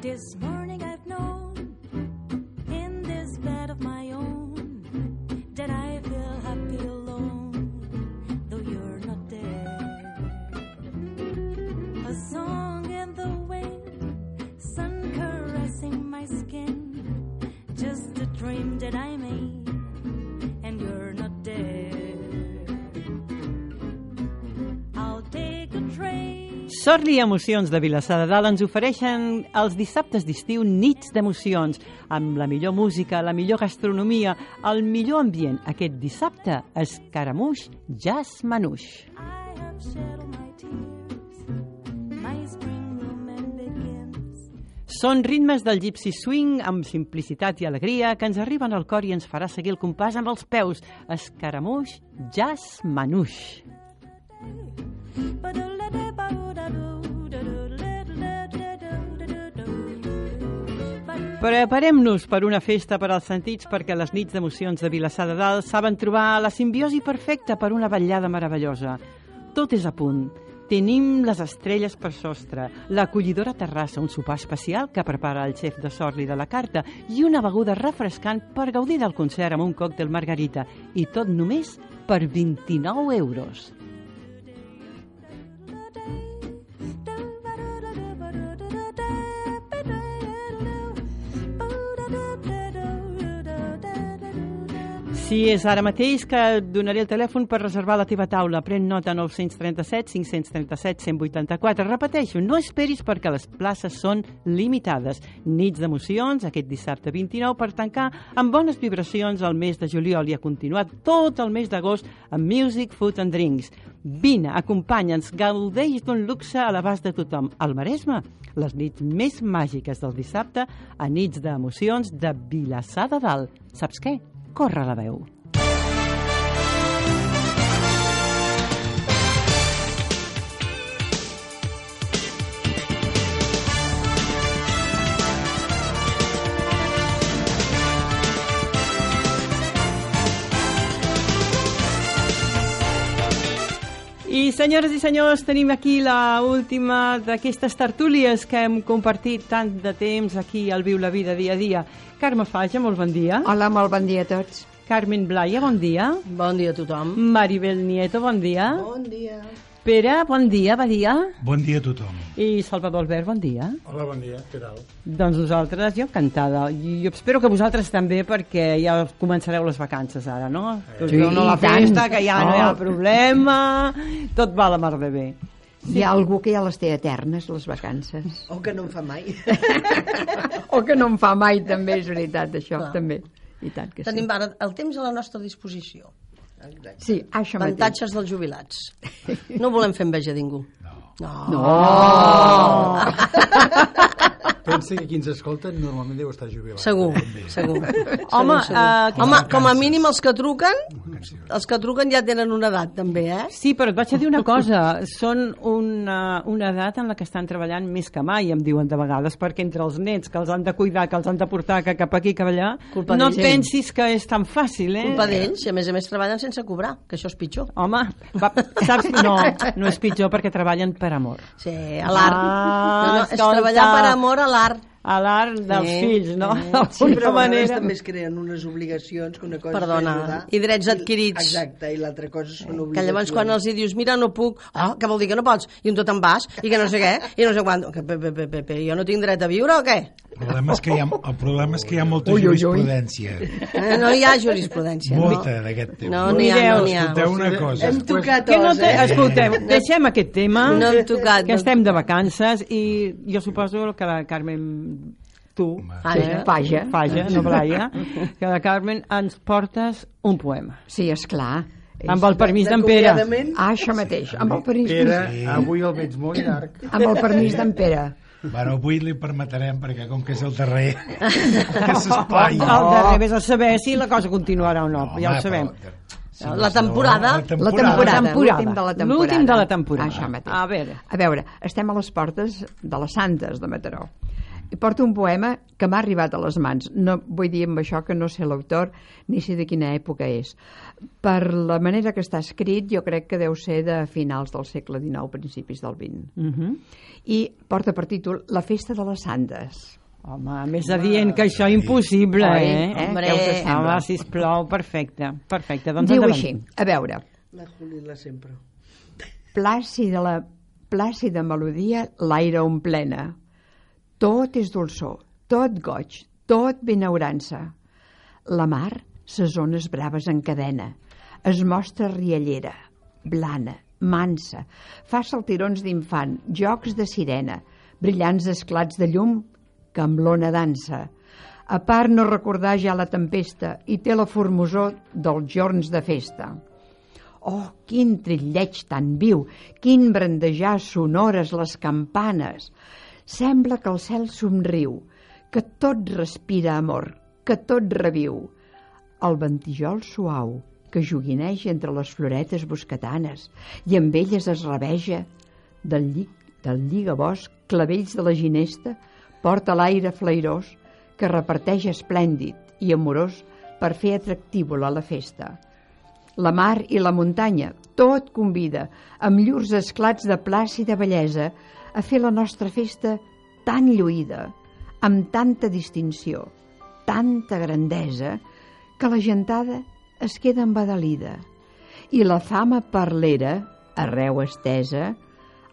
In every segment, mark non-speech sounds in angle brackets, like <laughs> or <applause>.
This morning I've known in this bed of my own that I feel happy alone, though you're not there. A song in the wind, sun caressing my skin, just a dream that I made, and you're not there. I'll take a train. Sort i emocions de Vilassar de Dalt ens ofereixen els dissabtes d'estiu nits d'emocions, amb la millor música, la millor gastronomia, el millor ambient. Aquest dissabte, Escaramuix Jazz Manuix. I have shed all my tears. My spring romance begins. Són ritmes del gypsy swing amb simplicitat i alegria que ens arriben al cor i ens farà seguir el compàs amb els peus. Escaramuix Jazz Manuix. Preparem-nos per una festa per als sentits perquè les nits d'emocions de Vilassar de Dalt saben trobar la simbiosi perfecta per una ballada meravellosa. Tot és a punt. Tenim les estrelles per sostre, l'acollidora terrassa, un sopar especial que prepara el xef de Sorli de la carta i una beguda refrescant per gaudir del concert amb un còctel margarita. I tot només per 29 euros. Si és ara mateix que et donaré el telèfon per reservar la teva taula, pren nota 937 537 184. Repeteixo, no esperis perquè les places són limitades. Nits d'emocions, aquest dissabte 29, per tancar amb bones vibracions el mes de juliol i ha continuat tot el mes d'agost amb Music, Food and Drinks. Vine, acompanya'ns, gaudeix d'un luxe a l'abast de tothom. Al Maresme, les nits més màgiques del dissabte a nits d'emocions de Vilassar de Dalt. Saps què? corre la veu. I senyores i senyors, tenim aquí la última d'aquestes tertúlies que hem compartit tant de temps aquí al Viu la Vida dia a dia. Carme Faja, molt bon dia. Ah. Ah. Hola, molt bon dia a tots. Carmen Blaya, bon dia. Bon dia a tothom. Maribel Nieto, bon dia. Bon dia. Pere, bon dia, va dia. Bon dia a tothom. I Salvador Albert, bon dia. Hola, bon dia, què tal? Doncs nosaltres, jo encantada. I jo espero que vosaltres també, perquè ja començareu les vacances ara, no? Sí, Que us veu, no, la i tant. festa, que ja no hi ha Oh. problema, tot va a la mar de bé. Hi ha algú que ja les té eternes, les vacances. O que no em fa mai. <laughs> O que no en fa mai, també, és veritat, això, també. I tant que Tenim ara el temps a la nostra disposició. Exacte. sí. Sí, això mateix. Avantatges dels jubilats. No volem fer enveja a ningú. No. no. Pensa que qui ens escolta normalment deu estar jubilat. Segur, També. segur. Home, segur, segur. eh, home, com a mínim els que truquen, els que truquen ja tenen una edat també, eh? Sí, però et vaig a dir una cosa. Són una, una edat en la que estan treballant més que mai, em diuen de vegades, perquè entre els nets que els han de cuidar, que els han de portar que cap aquí, cap allà, Culpa no d'ells. pensis que és tan fàcil, eh? Culpa d'ells, i a més a més treballen sense cobrar, que això és pitjor. Home, va, saps? No, no és pitjor perquè treballen per amor. Sí, a l'art. Ah, no, no, és escolta. treballar per amor a l'art. A l'art dels Sí, fills, no? sí. Sí, D'alguna però a vegades manera. també es creen unes obligacions que una cosa Perdona, és ajudar, i drets adquirits. Exacte, i l'altra cosa Eh, són obligacions. que llavors quan els hi dius, mira, no puc, ah, que vol dir que no pots, i un tot en vas, i que no sé què, i no sé quan, que, pe, pe, pe, pe, pe, jo no tinc dret a viure o què? El problema és que hi ha, el problema és que hi ha molta Ui, ui, ui. jurisprudència. Eh, No hi ha jurisprudència. Molta eh, no? d'aquest tema. No, no hi ha, no n'hi ha. Escolteu una cosa. Hem tocat Que no os, te... eh? Escolteu, deixem aquest tema, No hem tocat. que no- estem de vacances, i jo suposo que la Carmen, tu, Ara, eh? Faja. Faja, no Blaia, que la Carmen ens portes un poema. Sí, esclar. És- Amb el permís d'en Pere. D'acomiadament, Ah, això mateix, amb el permís, Pere, avui el veig molt llarg. amb el permís d'en Pere. Bueno, avui li permetrem, perquè com que és el darrer, que s'esplai. El darrer vés a saber si la cosa continuarà o no, ja ho sabem. La temporada. La La temporada. temporada, l'últim de la temporada. L'últim de la temporada. Això mateix. A veure. A veure, estem a les portes de les Santes de Mataró. I porto un poema que m'ha arribat a les mans. No vull dir amb això que no sé l'autor ni sé de quina època és. Per la manera que està escrit, jo crec que deu ser de finals del segle XIX, principis del XX. Uh -huh. I porta per títol La festa de les sandes. Home, més adient que això impossible, Oi, eh? eh? Hombre, Què us sembla? home, sisplau, perfecte, perfecte. Doncs Diu endavant. així, a veure, La Juli la sempre. plàcida, la, plàcida melodia l'aire omplena. Tot és dolçor, tot goig, tot benaurança. La mar, ses ones braves encadena, es mostra riallera, blana, mansa, fa saltirons d'infant, jocs de sirena, brillants esclats de llum que amb l'ona dansa. A part no recordar ja la tempesta i té la formosor dels jorns de festa. Oh, quin trilleig tan viu, quin brandejar sonores les campanes. Sembla que el cel somriu, que tot respira amor, que tot reviu. El ventijol suau, que joguineja entre les floretes boscatanes i amb elles es reveja. Del, lli del lligabosc, clavells de la ginesta, porta l'aire flairós que reparteix esplèndid i amorós per fer atractívola la festa la mar i la muntanya, tot convida, amb llurs esclats de plàcida bellesa, a fer la nostra festa tan lluïda, amb tanta distinció, tanta grandesa, que la gentada es queda embadalida i la fama parlera, arreu estesa,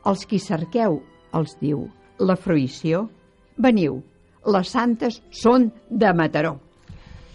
els qui cerqueu, els diu, la fruïció, veniu, les santes són de Mataró.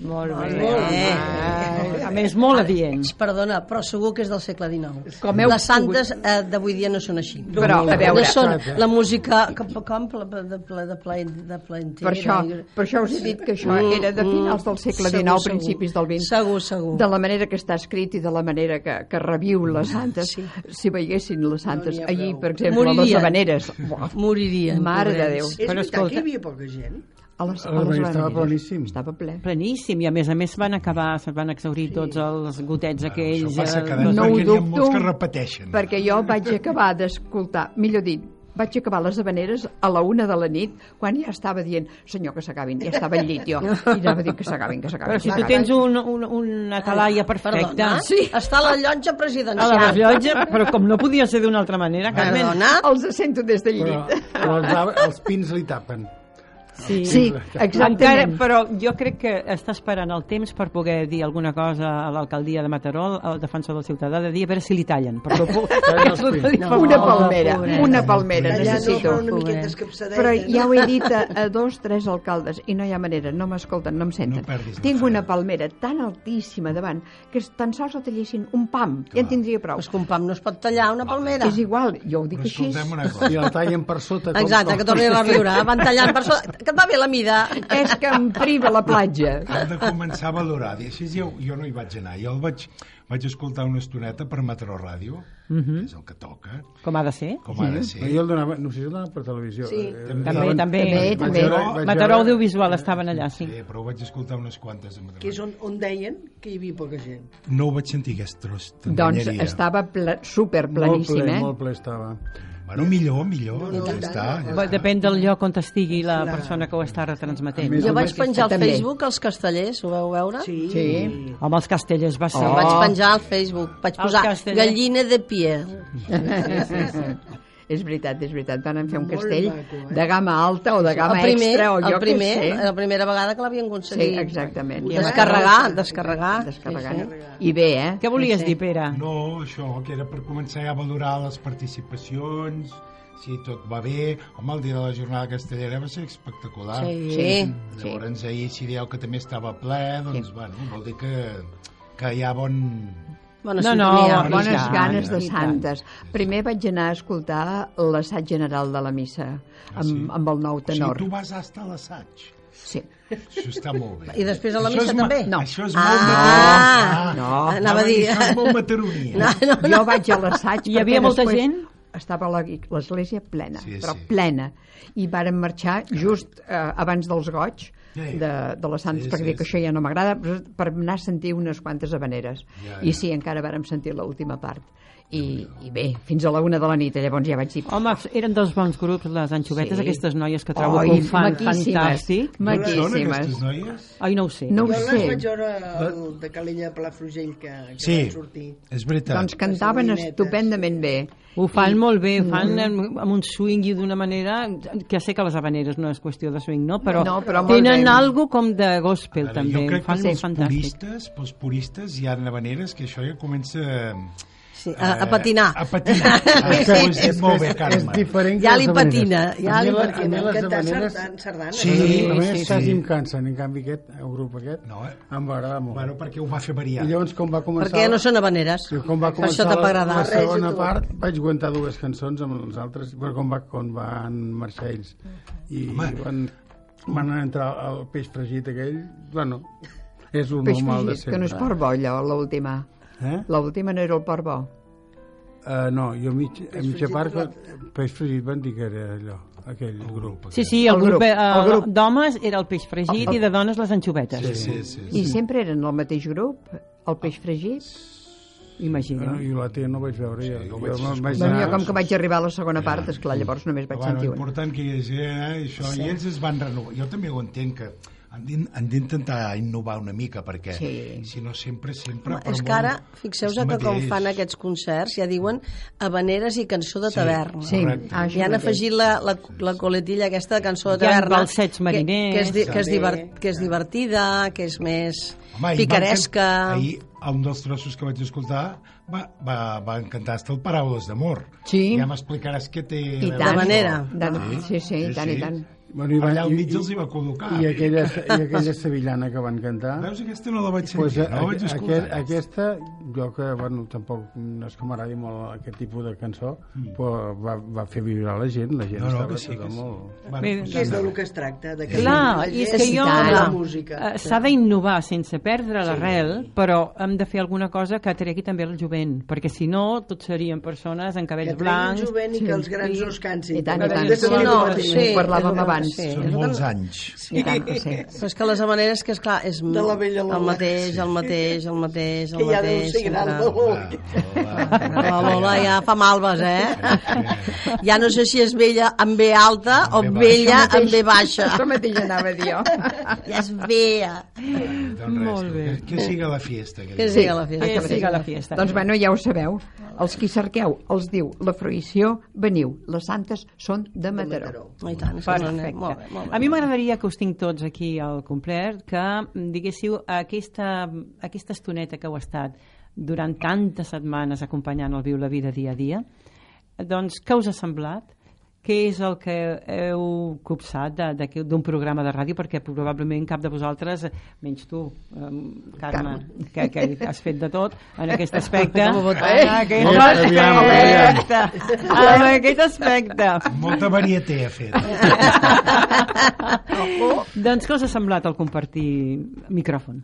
Molt bé. Molt bé. home. A més, molt adient. Perdona, però segur que és del segle XIX. Com heu Les santes eh, d'avui dia no són així. Però, a veure, No són la música que, com pla, pla, de, pla, de, pla, de plantera. Per això, per això us he dit que això Mm, era de mm. finals del segle Segur, XIX, segur. principis del XX. Segur, segur. De la manera que està escrit i de la manera que, que reviu les santes. Sí. Si veiessin les santes n'hi ha allí, prou. per exemple, a les Moririen. habaneres. Buah, Moririen. Mare de pobrets. Déu. És veritat escolta- que hi havia poca gent? A les, a A la les Havanera estava habaneres. pleníssim. Estava ple. Pleníssim, i a més a més van acabar, se van exaurir sí. tots els gotets aquells. Això passa eh, cada any no ho perquè n'hi ha molts dubto, que repeteixen. Perquè jo vaig acabar d'escoltar, millor dit, vaig acabar les habaneres a la una de la nit quan ja estava dient, senyor, que s'acabin, ja estava al llit jo, i anava dient que s'acabin, que s'acabin. Però si que tu s'acabin. tens un, un, una talaia perfecta. Perdona, Sí. està a la llotja A la presidencial. rellotge, però com no podia ser d'una altra manera, Carmen. Perdona. Els sento des del Però, llit. però els, ar- els pins li tapen. Sí. Sí, Encara, exactament. però jo crec que està esperant el temps per poder dir alguna cosa a l'alcaldia de Mataró, al defensor del ciutadà, de dir a veure si li tallen. Però No, una palmera, pobreta. una palmera Allà no, necessito. però una miqueta escapçadeta. Però ja ho he dit a, a dos, tres alcaldes i no hi ha manera, no m'escolten, no em senten. No perdis la Tinc fe. una palmera tan altíssima davant que es- tan sols la tallessin un pam, ja en tindria prou. Pues que un pam no es pot tallar una palmera. És igual, jo ho dic Però així. escoltem una I cosa. el tallen per sota. Com, Exacte, que torni a reviure. Van tallant per sota. Que et va bé la mida. És que em priva la platja. Hem de començar a valorar. I així jo, jo no hi vaig anar. Jo el vaig, vaig escoltar una estoneta per Mataró Ràdio, que és el que toca, Com ha de ser? com ha de Sí. ser. Jo el donava, no sé si el donava per televisió. eh, Sí, També, també. També, també. Mataró Audiovisual estaven allà, sí. Sí, però ho vaig escoltar unes quantes a Mataró. Que és on, on deien que hi havia poca gent. No ho vaig sentir, aquest tros. Doncs estava pla, superplaníssim, molt ple, eh? Molt ple estava. Bueno, millor, millor. No, ja tant, està, ja Bé, està. Depèn del lloc on estigui la persona que ho està retransmetent. Més Jo o vaig penjar al També. Facebook els castellers, ho veu veure? Sí. Sí. Oh. Home, els castellers va ser... Ho vaig penjar al Facebook. Vaig El posar casteller. gallina de pie. <laughs> És veritat, és veritat. Van fer un Molt castell maco, eh? de gamma alta o de El gamma primer, extra o jo el primer, què sé. la primera vegada que l'havien Sí, aconseguit. exactament. Descarregar, descarregar. Ah, Descarregar. Sí, I bé, eh? Què volies dir, Pere? No, això, que era per començar a valorar les participacions, si tot va bé. Home, el dia de la jornada castellera va ser espectacular. Sí. Sí. Llavors, ahir, si dieu que també estava ple, doncs, sí. bueno, vol dir que, que hi ha bon... Bona No, no, sintonia. I Bones tant, ganes de i tant. santes. Primer vaig anar a escoltar l'assaig general de la missa Ah, sí? amb, amb el nou O sigui, tenor. tu vas estar a l'assaig. <laughs> Sí. Això està molt bé. I després a la Això missa és ma- també? No. Això és Ah, molt... Ah, no. no. Anava a dir- Això és molt mataronia. No, no, no. Jo vaig a l'assaig Hi havia perquè molta després gent? Estava la- l'església plena, Sí, però sí. plena. I varen marxar just eh, abans dels goig Sí. de, de les Sants, Sí, sí, perquè sí, sí, que sí. això ja no m'agrada, però per anar a sentir unes quantes habaneres. Ja, I ja. sí, encara vàrem sentir l'última part. I, I bé, fins a la una de la nit, llavors ja vaig dir... Home, eren dos bons grups, les anxovetes, Sí. aquestes noies que trobo Oi, que ho fan maquíssimes, fantàstic. D'on són Maquíssimes. aquestes noies? Ai, no ho sé. No ho Jo les sé. vaig veure al, de Calella de Palafrugell que, que Sí, van sortir. és veritat. Doncs cantaven Són netes. estupendament bé. Ho fan molt bé, ho fan amb, amb un swing i d'una manera... Que sé que les habaneres no és qüestió de swing, no? Però, No, però molt tenen bé. algo com de gospel, Ara, també. Jo Ho crec que fan pels fantàstic. puristes, pels puristes hi ha maneres que això ja comença... Sí, a, a patinar. A <laughs> patinar. Això ho has dit molt bé, És Carme. diferent Ja que li les habaneres. patina, ja A mi li la- patina. A mi les Cantar habaneres... sardan, sardanes. Sí, Sí, sí, a mi sí. quasi em cansen, en canvi aquest, el grup aquest, No, eh? em va agradar molt. Bueno, perquè ho va fer variar. I llavors, com va començar... Perquè no són habaneres. Sí, com va Per això començar t'ha la, agradat. la segona part, vaig aguantar dues cançons amb els altres, però com, va, com van marxar ells. I Home. van, van entrar el peix fregit aquell, bueno, és el Peix normal de fregit, sempre. que no és porc bo, allò, l'última. Eh? L'última no era el porc bo. Uh, no, jo a mitja, a mitja part, quan- peix fregit van dir que era allò, aquell grup. Sí, sí, el, El grup, grup, eh, el grup. d'homes era el peix fregit i de dones les anxovetes. Sí, sí, sí. I sempre eren el mateix grup, el peix fregit. Imagina. No, jo Eh, la tele no vaig veure, sí, jo, ho vaig jo vaig Bueno, anar... jo com que vaig arribar a la segona part, esclar, llavors només vaig Bueno, sentir un. important que hi hagi, eh, això, sí. i ells es van renovar. Jo també ho entenc, que han d'in- han d'intentar innovar una mica, perquè Sí. si no sempre, sempre... Home, per és molt- que ara, fixeu-vos és que com mateix. fan aquests concerts, ja diuen habaneres i cançó de taverna. Sí, Correcte. ah, I això han mateix. afegit la, la, la coletilla aquesta de cançó de Hi ha taverna. balsets mariners, Que, que, és, di- que, és també. divert, que és divertida, que és més Home, ahir picaresca. Van, can- ahir, un dels trossos que vaig escoltar, va, va, van cantar hasta el Paraules d'amor. Sí. Ja m'explicaràs què té... a I veure tant. això. manera. Tant, sí, Sí, sí, i tant, i tant. Bueno, i van, Allà al i- mig i- els hi va col·locar. I aquella, i aquella sevillana que van cantar... Veus, aquesta no la vaig sentir, Pues, eh, pues, no la vaig aqu escoltar. aquest, aquesta, jo que bueno, tampoc no és que m'agradi molt aquest tipus de cançó, mm. però va, va fer vibrar la gent, la gent No, no, estava que sí, que tota sí. molt... Bé, doncs Que és anava. del que es tracta. De que Clar, la gent i és que i jo... la clar, música. eh, S'ha d'innovar sense perdre l'arrel, però hem de fer alguna cosa que atregui també el jovent, perquè si no, tots serien persones amb Que cabells treguin blancs... jovent i que els grans Sí. no es cansin. I tant, i Perquè tant. hem de Sí, sentir no, el mateix. sí. parlàvem és el que- abans. Sí. Són molts anys. I tant que sí. Però és que les habaneres, que és clar, és De la vella Lola. el mateix, el mateix, el mateix, el Que ja deu mateix. ser gran Oh, sempre. de Va, l'Olga. va, va. La Lola ja fa malves, eh? Ja no sé si és vella amb B alta o Amb B vella baixa. amb B baixa. Això mateix anava a dir jo. <laughs> Ja és vella. Doncs res, Molt bé. Que, que siga la fiesta. Que Que diu. sí, a la Que festa. siga la fiesta. Doncs bueno, ja ho sabeu. Els qui cerqueu, els diu la fruïció, veniu. Les santes són de Mataró. I tant, és que no anem. Molt bé, molt bé. A mi m'agradaria que us tinc tots aquí al complet, que mm, diguéssiu aquesta, aquesta estoneta que heu estat durant tantes setmanes acompanyant el Viu la Vida dia a dia, doncs què us ha semblat? Què és el que heu copsat de- d'aquest- d'un programa de ràdio? Perquè probablement cap de vosaltres, eh, menys tu, um, Carme, que, que has fet de tot en aquest aspecte. En aquest Molt aviam, aviam. aspecte. En aquest aspecte. Molta varieté ha fet. Doncs què us ha semblat el compartir micròfon?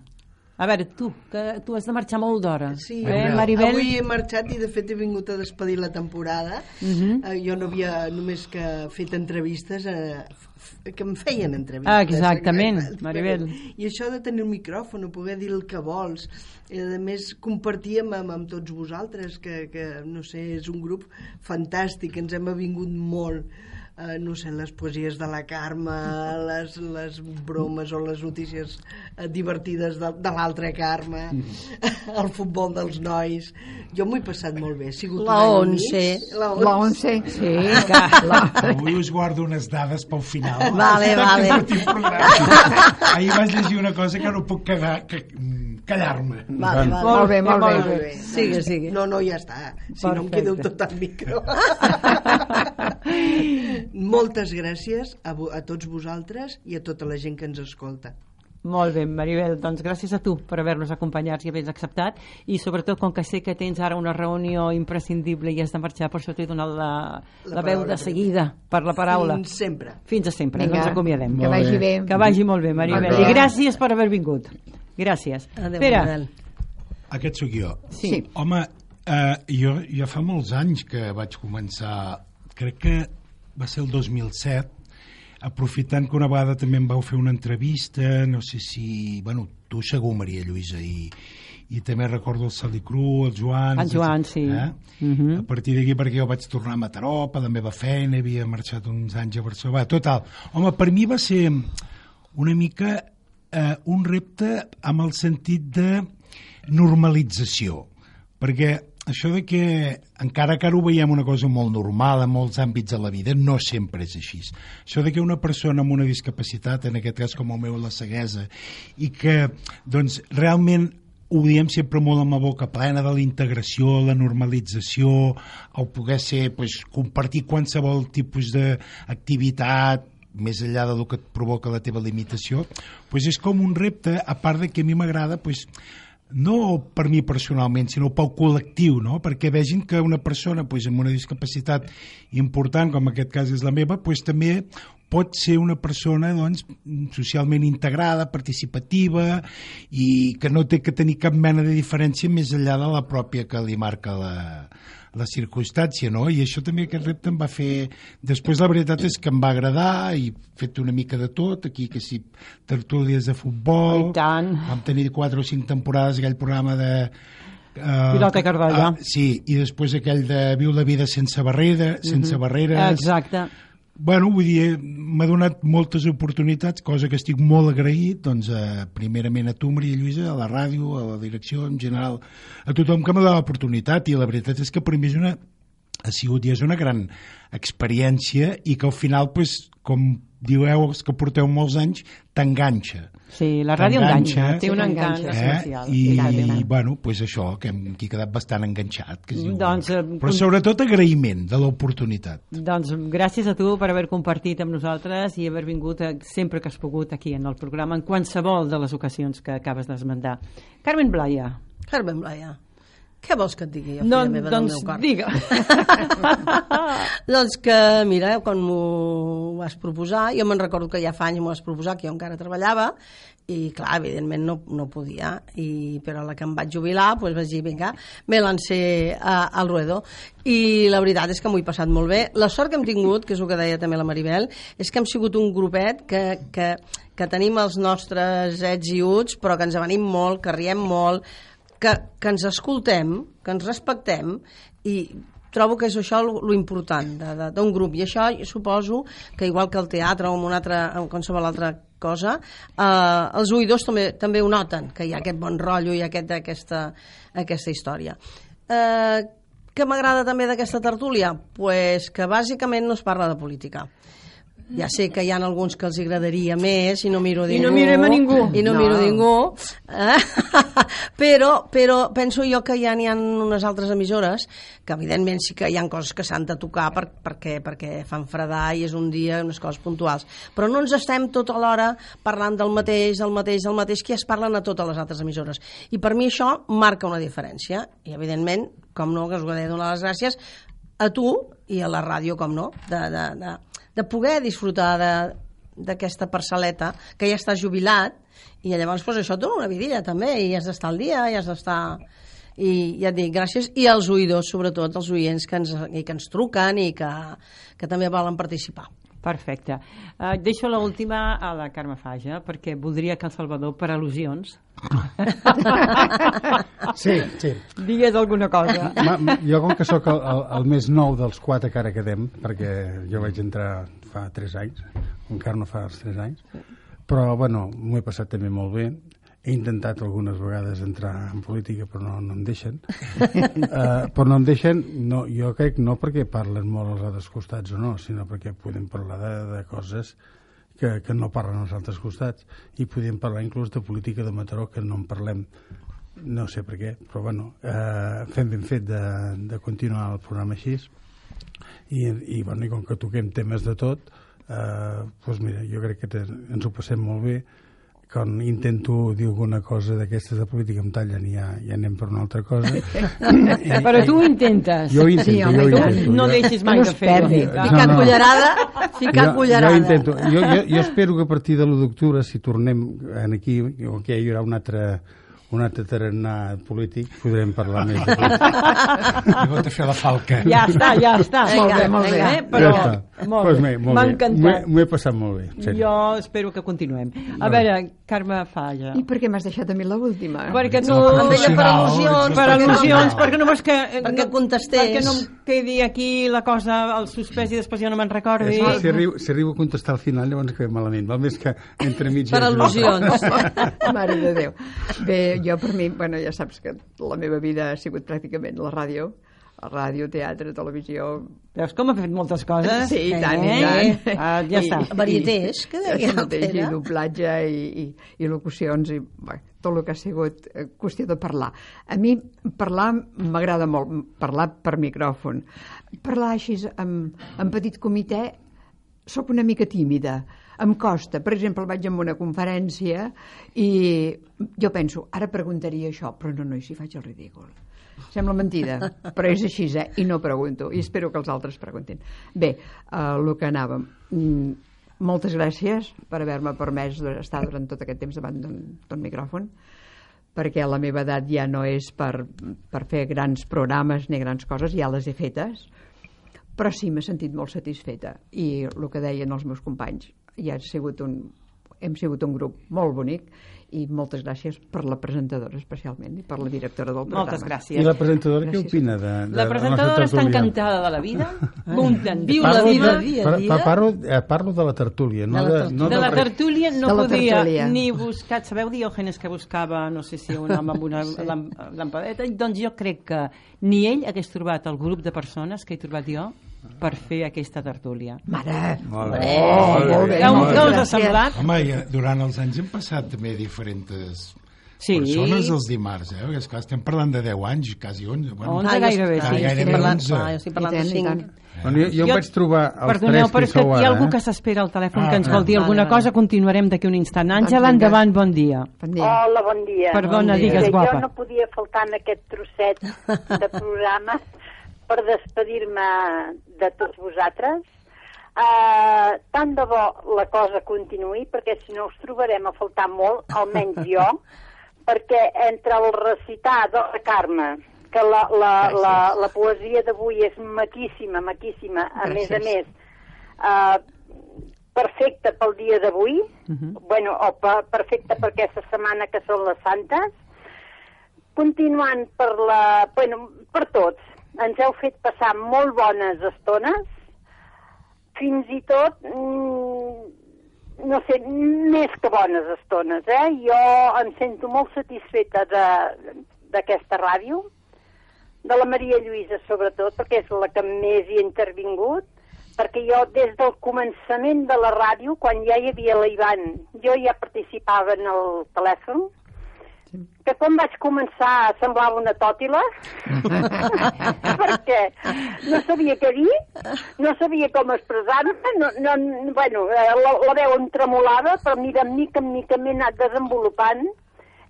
A veure, tu, que tu has de marxar molt d'hora. Sí, eh, Maribel? avui he marxat i de fet he vingut a despedir la temporada. eh, jo no havia només que fet entrevistes, eh, f- que em feien Ah, entrevistes. exactament, Exacte. Maribel. I això de tenir un micròfon, o poder dir el que vols, i a més compartir amb, amb, amb tots vosaltres, que, que no sé, és un grup fantàstic, ens hem avingut molt. Eh, no sé, les poesies de la Carme, les, les bromes o les notícies eh, divertides de, de l'altra Carme, <laughs> el futbol dels nois... Jo m'ho he passat molt bé. Ha sigut un La any i mig. once. La once. La 11, sí. Avui us guardo unes dades pel final. Vale, vale. Sortim programa. Ahir vaig llegir una cosa que no puc quedar, que, mm, callar-me. Vale, vale. Molt bé, molt bé. Molt bé. Sigue, sigue. No, no, ja està. Si no em Perfecte. quedo tot el micro. <laughs> Moltes gràcies a, vo- a tots vosaltres i a tota la gent que ens escolta. <laughs> Molt bé, Maribel, doncs gràcies a tu per haver-nos acompanyat i haver acceptat i sobretot com que sé que tens ara una reunió imprescindible i has de marxar, per això t'he donat la, la, La veu paraula de seguida per la paraula. Fins sempre. Fins a sempre, Vinga, Vinga, ens acomiadem. Que vagi bé. Que vagi molt bé, Maribel. Vinga. I gràcies per haver vingut. Gràcies. Adéu, Pere, Manel. Aquest sóc jo. Sí. Sí. Home, eh, jo ja fa molts anys que vaig començar, crec que va ser el 2007, aprofitant que una vegada també em vau fer una entrevista, no sé si... Bueno, tu segur, Maria Lluïsa, i, i també recordo el Salí Cru, el Joan... El Joan, sí. Eh? Mhm. A partir d'aquí, perquè jo vaig tornar a Mataró per la meva feina, havia marxat uns anys a Barcelona... Total, home, per mi va ser una mica eh, un repte amb el sentit de normalització, perquè això de que encara que ara ho veiem una cosa molt normal en molts àmbits de la vida, no sempre és així. Això de que una persona amb una discapacitat, en aquest cas com el meu, la ceguesa, i que doncs, realment ho diem sempre molt amb la boca plena de la integració, la normalització, el poder ser, pues, compartir qualsevol tipus d'activitat, més enllà del que et provoca la teva limitació, doncs és com un repte, a part de que a mi m'agrada doncs, no per mi personalment, sinó pel col·lectiu, no? perquè vegin que una persona doncs, amb una discapacitat important, com en aquest cas és la meva, doncs, també pot ser una persona doncs, socialment integrada, participativa i que no té que tenir cap mena de diferència més enllà de la pròpia que li marca la, la circumstància, no? I això també aquest repte em va fer... Després la veritat és que em va agradar i he fet una mica de tot, aquí que si tertúlies de futbol... I tant. Vam tenir quatre o cinc temporades aquell programa de... Uh, Pilota Cardolla. sí, i després aquell de Viu la vida sense barrera, sense barreres. Mhm. Exacte. Bueno, vull dir, m'ha donat moltes oportunitats, cosa que estic molt agraït, doncs, eh, primerament a tu, Maria Lluïsa, a la ràdio, a la direcció, en general, a tothom que m'ha donat l'oportunitat, i la veritat és que per mi és una, ha sigut i és una gran experiència i que al final, pues, com dieu els que porteu molts anys, t'enganxa. Sí, la ràdio T'enganxa, enganxa, té un encant T'enganxa, Eh? especial. I, tant, I, tant. bueno, pues això, que hem que he quedat bastant enganxat. Que es diu. Doncs, eh, Però sobretot agraïment de <laughs> l'oportunitat. Doncs gràcies a tu per haver compartit amb nosaltres i haver vingut eh, sempre que has pogut aquí en el programa, en qualsevol de les ocasions que acabes d'esmentar. Carmen Blaya. Carmen Blaia, què vols que et digui jo, No, filla meva, doncs del meu cor? digue. <laughs> doncs que, mira, quan m'ho vas proposar, jo me'n recordo que ja fa anys m'ho vas proposar, que jo encara treballava, i clar, evidentment no, no podia, i, però la que em vaig jubilar, doncs vaig dir, vinga, me lancé a, al ruedo. I la veritat és que m'ho he passat molt bé. La sort que hem tingut, que és el que deia també la Maribel, és que hem sigut un grupet que, que, que tenim els nostres ets i uts, però que ens avenim molt, que riem molt, que, que ens escoltem, que ens respectem i trobo que és això l'important d'un grup i això suposo que igual que el teatre o en, una altra, en qualsevol altra cosa eh, els oïdors també, també ho noten que hi ha aquest bon rotllo i aquest, aquesta, aquesta història eh, què m'agrada també d'aquesta tertúlia? pues que bàsicament no es parla de política ja sé que hi ha alguns que els agradaria més i no miro a I ningú. no mirem a ningú. I No. no, no. miro a ningú. Eh? <laughs> però, però penso jo que ja n'hi ha unes altres emissores que evidentment sí que hi ha coses que s'han de tocar per, perquè, perquè fan fredar i és un dia unes coses puntuals. Però no ens estem tota l'hora parlant del mateix, del mateix, del mateix, que ja es parlen a totes les altres emissores. I per mi això marca una diferència. I evidentment, com no, que us ho he de donar les gràcies, a tu i a la ràdio, com no, de, de, de, de poder disfrutar de, d'aquesta parcel·leta que ja està jubilat i llavors pues, això et dona una vidilla també i has d'estar al dia, i has d'estar i ja et dic, gràcies, i als oïdors sobretot, als oients que ens, i que ens truquen i que, que també volen participar Perfecte. Uh, deixo la última a la Carme Faja, perquè voldria que el Salvador, per al·lusions, Sí, sí. digués alguna cosa. Ah, Ma, ma- jo com que sóc el, el, el més nou dels quatre que ara quedem, perquè jo vaig entrar fa 3 anys, encara no fa els 3 anys, però bueno, m'ho he passat també molt bé. He intentat algunes vegades entrar en política, però no, no em deixen. uh, però no em deixen, no, jo crec, no perquè parlen molt als altres costats o no, sinó perquè podem parlar de, de coses que, que no parlen als altres costats i podem parlar inclús de política de Mataró que no en parlem no sé per què, però bueno, eh, fem ben fet de, de continuar el programa així i, i, bueno, i com que toquem temes de tot eh, doncs mira, jo crec que te, ens ho passem molt bé quan intento dir alguna cosa d'aquestes de política em tallen i ja, ja anem per una altra <laughs> cosa I, Però tu ho intentes. jo ho intento, Sí, home, jo ho i tant. intento No jo- deixis mai No de es fer-ho. perdi. clar. No, ficar no. cullerada, ficar cullerada Jo, intento, jo, jo, jo espero que a partir de l'1 d'octubre, si tornem en aquí, o que hi haurà un altre, un altre tarannà polític, podrem parlar més de I vot a fer la falca. Ja està, ja està. Molt bé, molt bé. Eh, però, Ja està. molt Doncs bé. bé, molt M'ha bé. encantat. M'he- M'ho he passat molt bé. en sèrio. Jo espero que continuem. A veure, Carme Falla. I per què m'has deixat a mi l'última? Perquè no... Em deia per Professional, al·lusions, per perquè no- al·lusions, perquè no vols que... eh, Perquè no, contestés. Perquè no em quedi aquí la cosa, el suspès i després jo no me'n recordi. És que si arribo, si arribo a contestar al final, llavors queda malament. Val més que entre mig... Per al·lusions. <laughs> Mare de Déu. Bé, jo per mi, bueno, ja saps que la meva vida ha sigut pràcticament la ràdio, la ràdio, teatre, televisió... Veus com ha fet moltes coses? <laughs> Sí, i tant, Eh? i tant. Ah, ja I- està. i- Varietés, que deia això mateix, l'Altera. I doblatge, i, i, i locucions, i bé, tot el que ha sigut eh, qüestió de parlar. A mi parlar m'agrada molt, m- parlar per micròfon. Parlar així en, en petit comitè sóc una mica tímida, em costa. Per exemple, vaig a una conferència i jo penso, ara preguntaria això, però no, no, i si faig el ridícul. Sembla mentida, però és així, eh? I no pregunto, i espero que els altres preguntin. Bé, eh, el que anàvem. Mm, moltes gràcies per haver-me permès estar durant tot aquest temps davant d'un d'un micròfon perquè la meva edat ja no és per, per fer grans programes ni grans coses, ja les he fetes, però sí, m'he sentit molt satisfeta i el que deien els meus companys ja ha sigut un, hem sigut un grup molt bonic i moltes gràcies per la presentadora especialment i per la directora del programa. Moltes I gràcies. la presentadora què Gràcies. opina de, de La presentadora està encantada de la vida, content, Eh. viu la Parlo vida. de, par, par, parlo, eh, parlo de la tertúlia, no De de, la no tertúlia. De la pre- tertúlia no De la podia tertúlia. ni buscar, sabeu Diògenes que buscava, no sé si un home amb <laughs> una sí. lampadeta, doncs jo crec que ni ell hagués trobat el grup de persones que he trobat jo per fer aquesta tertúlia. Mare, Molt bé. oh, molt bé. Què us- moltes què us ha gràcies. semblat? Home, i, eh, durant els anys hem passat també diferents Sí, persones els dimarts, eh? Perquè, esclar, estem parlant de 10 anys, quasi 11. Bueno, Onze. gairebé, clar, sí. jo estic Gairebé parlant, onze. clar, jo estic parlant I de tant, i tant. cinc. Bueno, jo, jo em vaig trobar els Perdoneu, tres però és que sou hi ha ara, algú eh? que s'espera al telèfon Ah, que ens ah. vol dir alguna Vale, vale. cosa, continuarem d'aquí un instant. Àngela, Doncs vinga. endavant, bon dia. Bon dia. Hola, bon dia. Perdona, bon dia. digues, Que guapa. Jo no podia faltar en aquest trosset de programa per despedir-me de tots vosaltres. Uh, tant de bo la cosa continuï, perquè si no us trobarem a faltar molt, almenys jo, perquè entre el recitar de la Carme, que la, la, la, la poesia d'avui és maquíssima, maquíssima, a més a més, uh, perfecte pel dia d'avui, uh -huh. bueno, o per, perfecte per aquesta setmana que són les santes, continuant per la... Bueno, per tots. Ens heu fet passar molt bones estones, fins i tot, mm, no sé, més que bones estones, eh? Jo em sento molt satisfeta de- d'aquesta ràdio, de la Maria Lluïsa, sobretot, perquè és la que més hi he intervingut, perquè jo des del començament de la ràdio, quan ja hi havia l'Ivan, jo ja participava en el telèfon, que quan vaig començar semblava una tòtila, <laughs> perquè no sabia què dir, no sabia com expressar-me, no, no, bueno, eh, la, la veu em tremolava, però mira, de mica en mica m'he anat desenvolupant,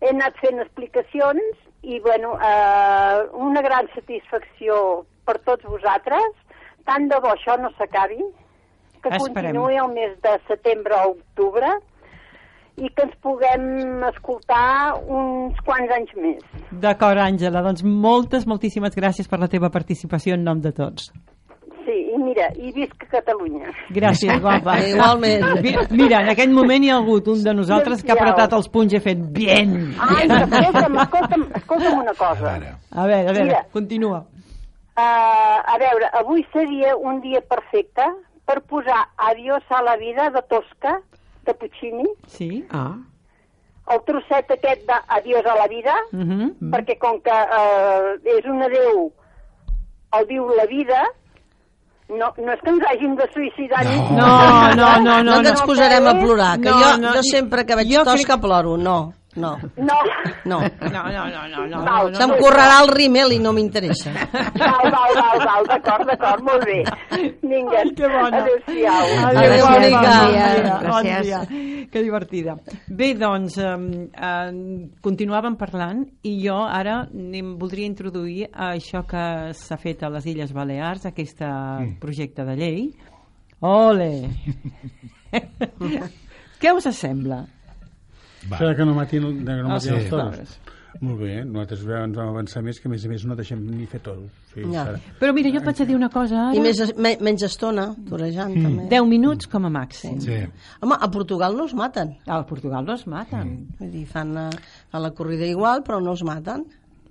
he anat fent explicacions i, bueno, eh, una gran satisfacció per tots vosaltres. Tant de bo això no s'acabi, que Esperem. continuï el mes de setembre a octubre i que ens puguem escoltar uns quants anys més. D'acord, Àngela, doncs moltes, moltíssimes gràcies per la teva participació en nom de tots. Sí, i mira, i visca Catalunya. Gràcies, guapa. Igualment. Mi- Mira, en aquest moment hi ha hagut un de nosaltres que ha apretat els punys i ha fet bien. Ai, escolta'm, escolta'm, escolta'm una A cosa. veure, A veure, a veure, Mira. continua. Uh, a veure, avui seria un dia perfecte per posar Adiós a la vida de Tosca, de Puccini, Sí? Ah, el trosset aquest de Adiós a la vida, Uh -huh. perquè com que uh, és un adeu, el diu la vida, no, no és que ens hàgim de suïcidar no. ni No, no, no, No, no. que no. ens posarem a plorar, que No, jo, no, jo sempre que veig jo crec- tosca ploro, no, no, No. <laughs> no. No, no, no, no, no, Val, no, Se'm no. correrà el rímel i no m'interessa. Val, val, val, val, d'acord, d'acord, molt bé. Vinga, Ai, que bona. adéu-siau. Adéu, Adéu, bona, bonica. bon dia, Gràcies. bon dia. Que divertida. Bé, doncs, um, uh, continuàvem parlant i jo ara em voldria introduir a això que s'ha fet a les Illes Balears, aquest projecte de llei. Ole! Què us sembla? va. Això de que no matin, de que no Els matin els Ah, toros. toros. Molt bé, nosaltres ens vam avançar més, que a més a més no deixem ni fer tot. O sigui, Ja. Sara, Però mira, jo et vaig a dir una cosa ara. I més, me, menys estona, torejant, mm. també. 10 minuts com a màxim. Sí. Home, a Portugal no es maten. A Portugal no es maten. Vull dir, fan, la, fan la corrida igual, però no es maten.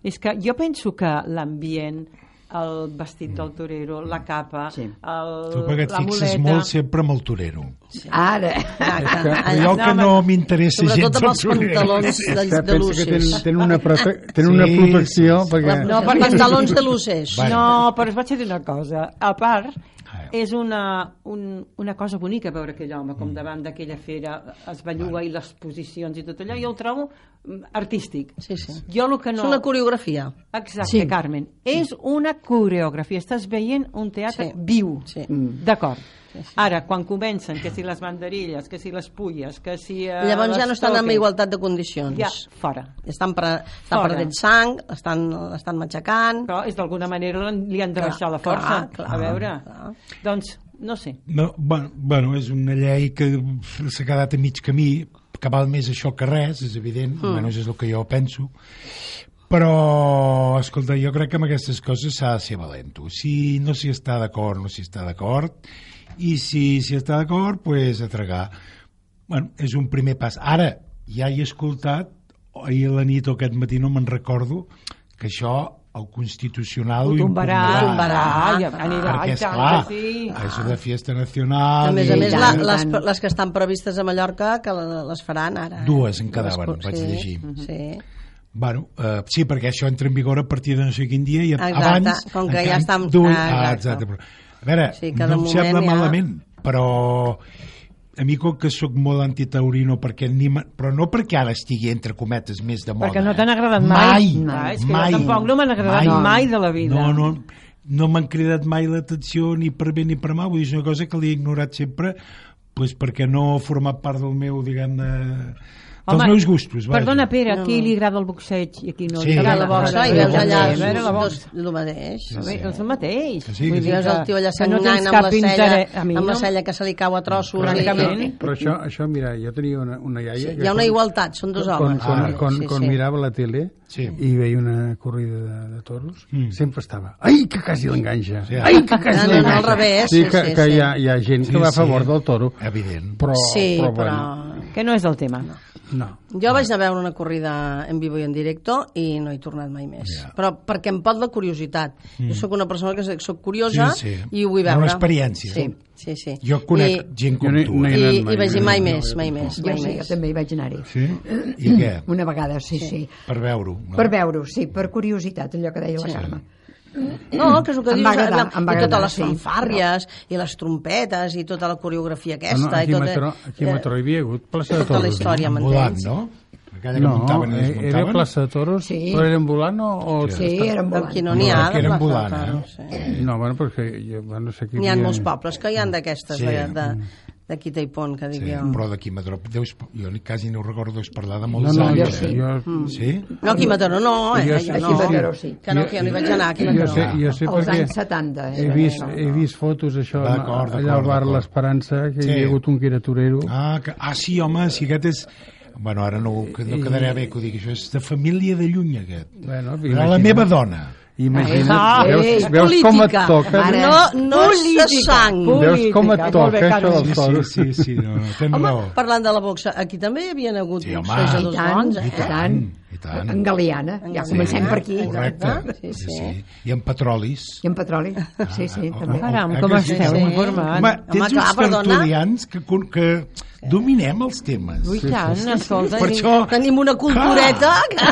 És que jo penso que l'ambient, el vestit del torero, la capa, Sí. el, Tu perquè et la fixes muleta... molt sempre amb el torero. Ara, Exacte. Allò que no m'interessa gens Ah, Sobretot amb els torero. pantalons Sí. de, Sara, de pensa que tenen, luces. tenen, una, prote tenen una Sí, protecció sí, sí. perquè... No, perquè- pantalons de luces. Va. No, però us vaig a dir una cosa. A part, Ah. és una, un, una cosa bonica veure aquell home Mm. com davant d'aquella fera es belluga i les posicions i tot allò. Jo el trobo mm, artístic. Sí, sí. Jo el que És no... una coreografia. Exacte, Sí. sí. Carmen. Sí. És una coreografia. Estàs veient un teatre Sí. sí. viu. Sí. Mm. D'acord. Ara, quan comencen, que si les banderilles, que si les pulles, que si... Eh, Llavors ja les no estan en toques, igualtat de condicions. Ja, fora. Estan, pre, estan Fora. perdent sang, estan, estan matxacant... Però és d'alguna manera l'han- li han de Clar, baixar la clar, força. clar, a veure. clar. Doncs, no sé. No, bueno, bueno, és una llei que s'ha quedat a mig camí, que val més això que res, és evident, Hmm. mm. almenys és el que jo penso, però, escolta, jo crec que amb aquestes coses s'ha de ser valento. Si no s'hi està d'acord, no s'hi està d'acord, i si s'hi està d'acord, doncs pues, a tragar. Bueno, és un primer pas. Ara, ja he escoltat, ahir a la nit o aquest matí no me'n recordo, que això el Constitucional Ho tombarà, impugnaran. ho tombarà, Ah, i anirà, i perquè, tant esclar, que sí. és una fiesta nacional... A més a i- més, I la, tant, les, i tant. les que estan previstes a Mallorca, que la- les faran ara. eh? Dues en quedaven, Les- vaig sí, Mhm. llegir. Sí. Bueno, eh, sí, perquè això entra en vigor a partir de no sé quin dia i Exacte, abans... com que encara ja estan- d'un- ah, Ah, exacte. exacte. però- A veure, Sí, que de no em sembla moment ja- malament, però a mi com que sóc molt antitaurino perquè ni me- però no perquè ara estigui entre cometes més de moda Perquè no t'han eh? agradat mai. mai, Ah, és que jo mai. tampoc no m'han agradat mai de la vida. no, no, no m'han cridat mai l'atenció ni per bé ni per mal, vull dir, és una cosa que l'he ignorat sempre pues, perquè no ha format part del meu, diguem-ne, dels Home, meus gustos. vaja. Perdona, Pere, a qui li agrada el boxeig i a qui no Sí. li agrada la la boxa? boxa, i sí, veus sí, allà sí, els, sí. A veure, la dos, boxa. el mateix. Sí, sí. És el mateix. Que sí, que Vull sí. dir Veus el tio allà que no sangnant tens amb la cap cella, interès- a mi amb la no. cella que se li cau a trossos. i- Francament. Però això, això, mira, jo tenia una, una iaia... Sí, que hi ha una quan- igualtat, són dos Quan, homes. quan, Ah, quan, sí, quan sí. mirava la tele Sí. i veia una corrida de, de toros, Mm. mm. sempre estava... Ai, que quasi l'enganxa! Sí. Ai, que quasi No, no, no, l'enganxa! al revés, Sí, sí, que, sí, que sí. hi, ha, hi ha gent que Sí, va a sí. favor del toro, Evident. però... Sí, Oh, però, però... bueno, Que no és el tema. No. Jo vaig anar a veure una corrida en vivo i en directo i no he tornat mai més. Ja. Mm. Però perquè em pot la curiositat. Jo sóc una persona que sóc curiosa Sí, sí. i ho vull Era veure. una experiència. Sí, sí, sí. Jo conec I... gent com Jo no- tu. no I, Eh? he- i, anat mai, i vaig dir no, mai no, més, jo mai més, jo mai sí, jo més. també hi vaig anar-hi. Sí? I què? Una vegada, sí, sí. Per veure-ho. No? Per veure-ho, sí, per curiositat, allò que deia la Carme. No, que és el que Em dius, va agradar, la- em va i totes agradar, les sí. fanfàrries, i les trompetes, i tota la Ah, coreografia aquesta. no, aquí, i a tot, eh, Mataró, aquí a Mataró hi havia hagut plaça de Tota la toros. no? història. Ambulant, no? Aquella que No, muntaven i eh, era desmuntaven. plaça de toros, Sí. però era ambulant o... o Sí, era Amb molt... qui no n'hi ha. No, que era de ambulant, plaça de eh? toros, sí. No, bueno, perquè jo, bueno, sé que N'hi ha havia- molts pobles que hi han d'aquestes, Sí. Mm. sí. de, de Quita i Pont, que dic Sí, jo. però d'aquí a Mataró, deus, jo ni- quasi no recordo deus parlar de No, molts no, jo, anys. sí. eh? jo, Mm. Sí? No, aquí a Mataró no, eh? Jo Jo, sé- no. Aquí a Mataró sí. Que no, que jo no hi vaig anar, aquí a jo, Mataró. sé, jo sé Als perquè anys eh, 70. he era, vist, no? he vist fotos, això, D'acord, allà al d'acord, bar d'acord. L'Esperança, que Sí. hi havia hagut un que era torero. Ah, que, ah, sí, home, si aquest és... Bueno, ara no, que no quedarà bé que ho digui, això és de família de lluny, aquest. Bueno, Era la meva dona. Imagina't, Ah, veus, ei, veus com et política. toca. Ara, No, no és de sang. Veus com et Política, molt toca bé, això Carme. dels Sí, toros. sí, sí, no, tens Home, raó. parlant de la boxa, aquí també hi havia hagut Sí, sí, home. boxers a I dos tant, bons, i eh? tant. Ah. I tant. En Galiana, ja Sí. comencem per aquí. doncs, Correcte. Sí, sí. I amb petrolis. I en petroli, sí, sí, Ah, també. ah, ah, Caram, ah, com que esteu sí? informats. Home, Home, tens clar, uns perdona. tertulians que, con- que dominem els temes. Ui, tant, escolta, Per i- això, Tenim una cultureta que...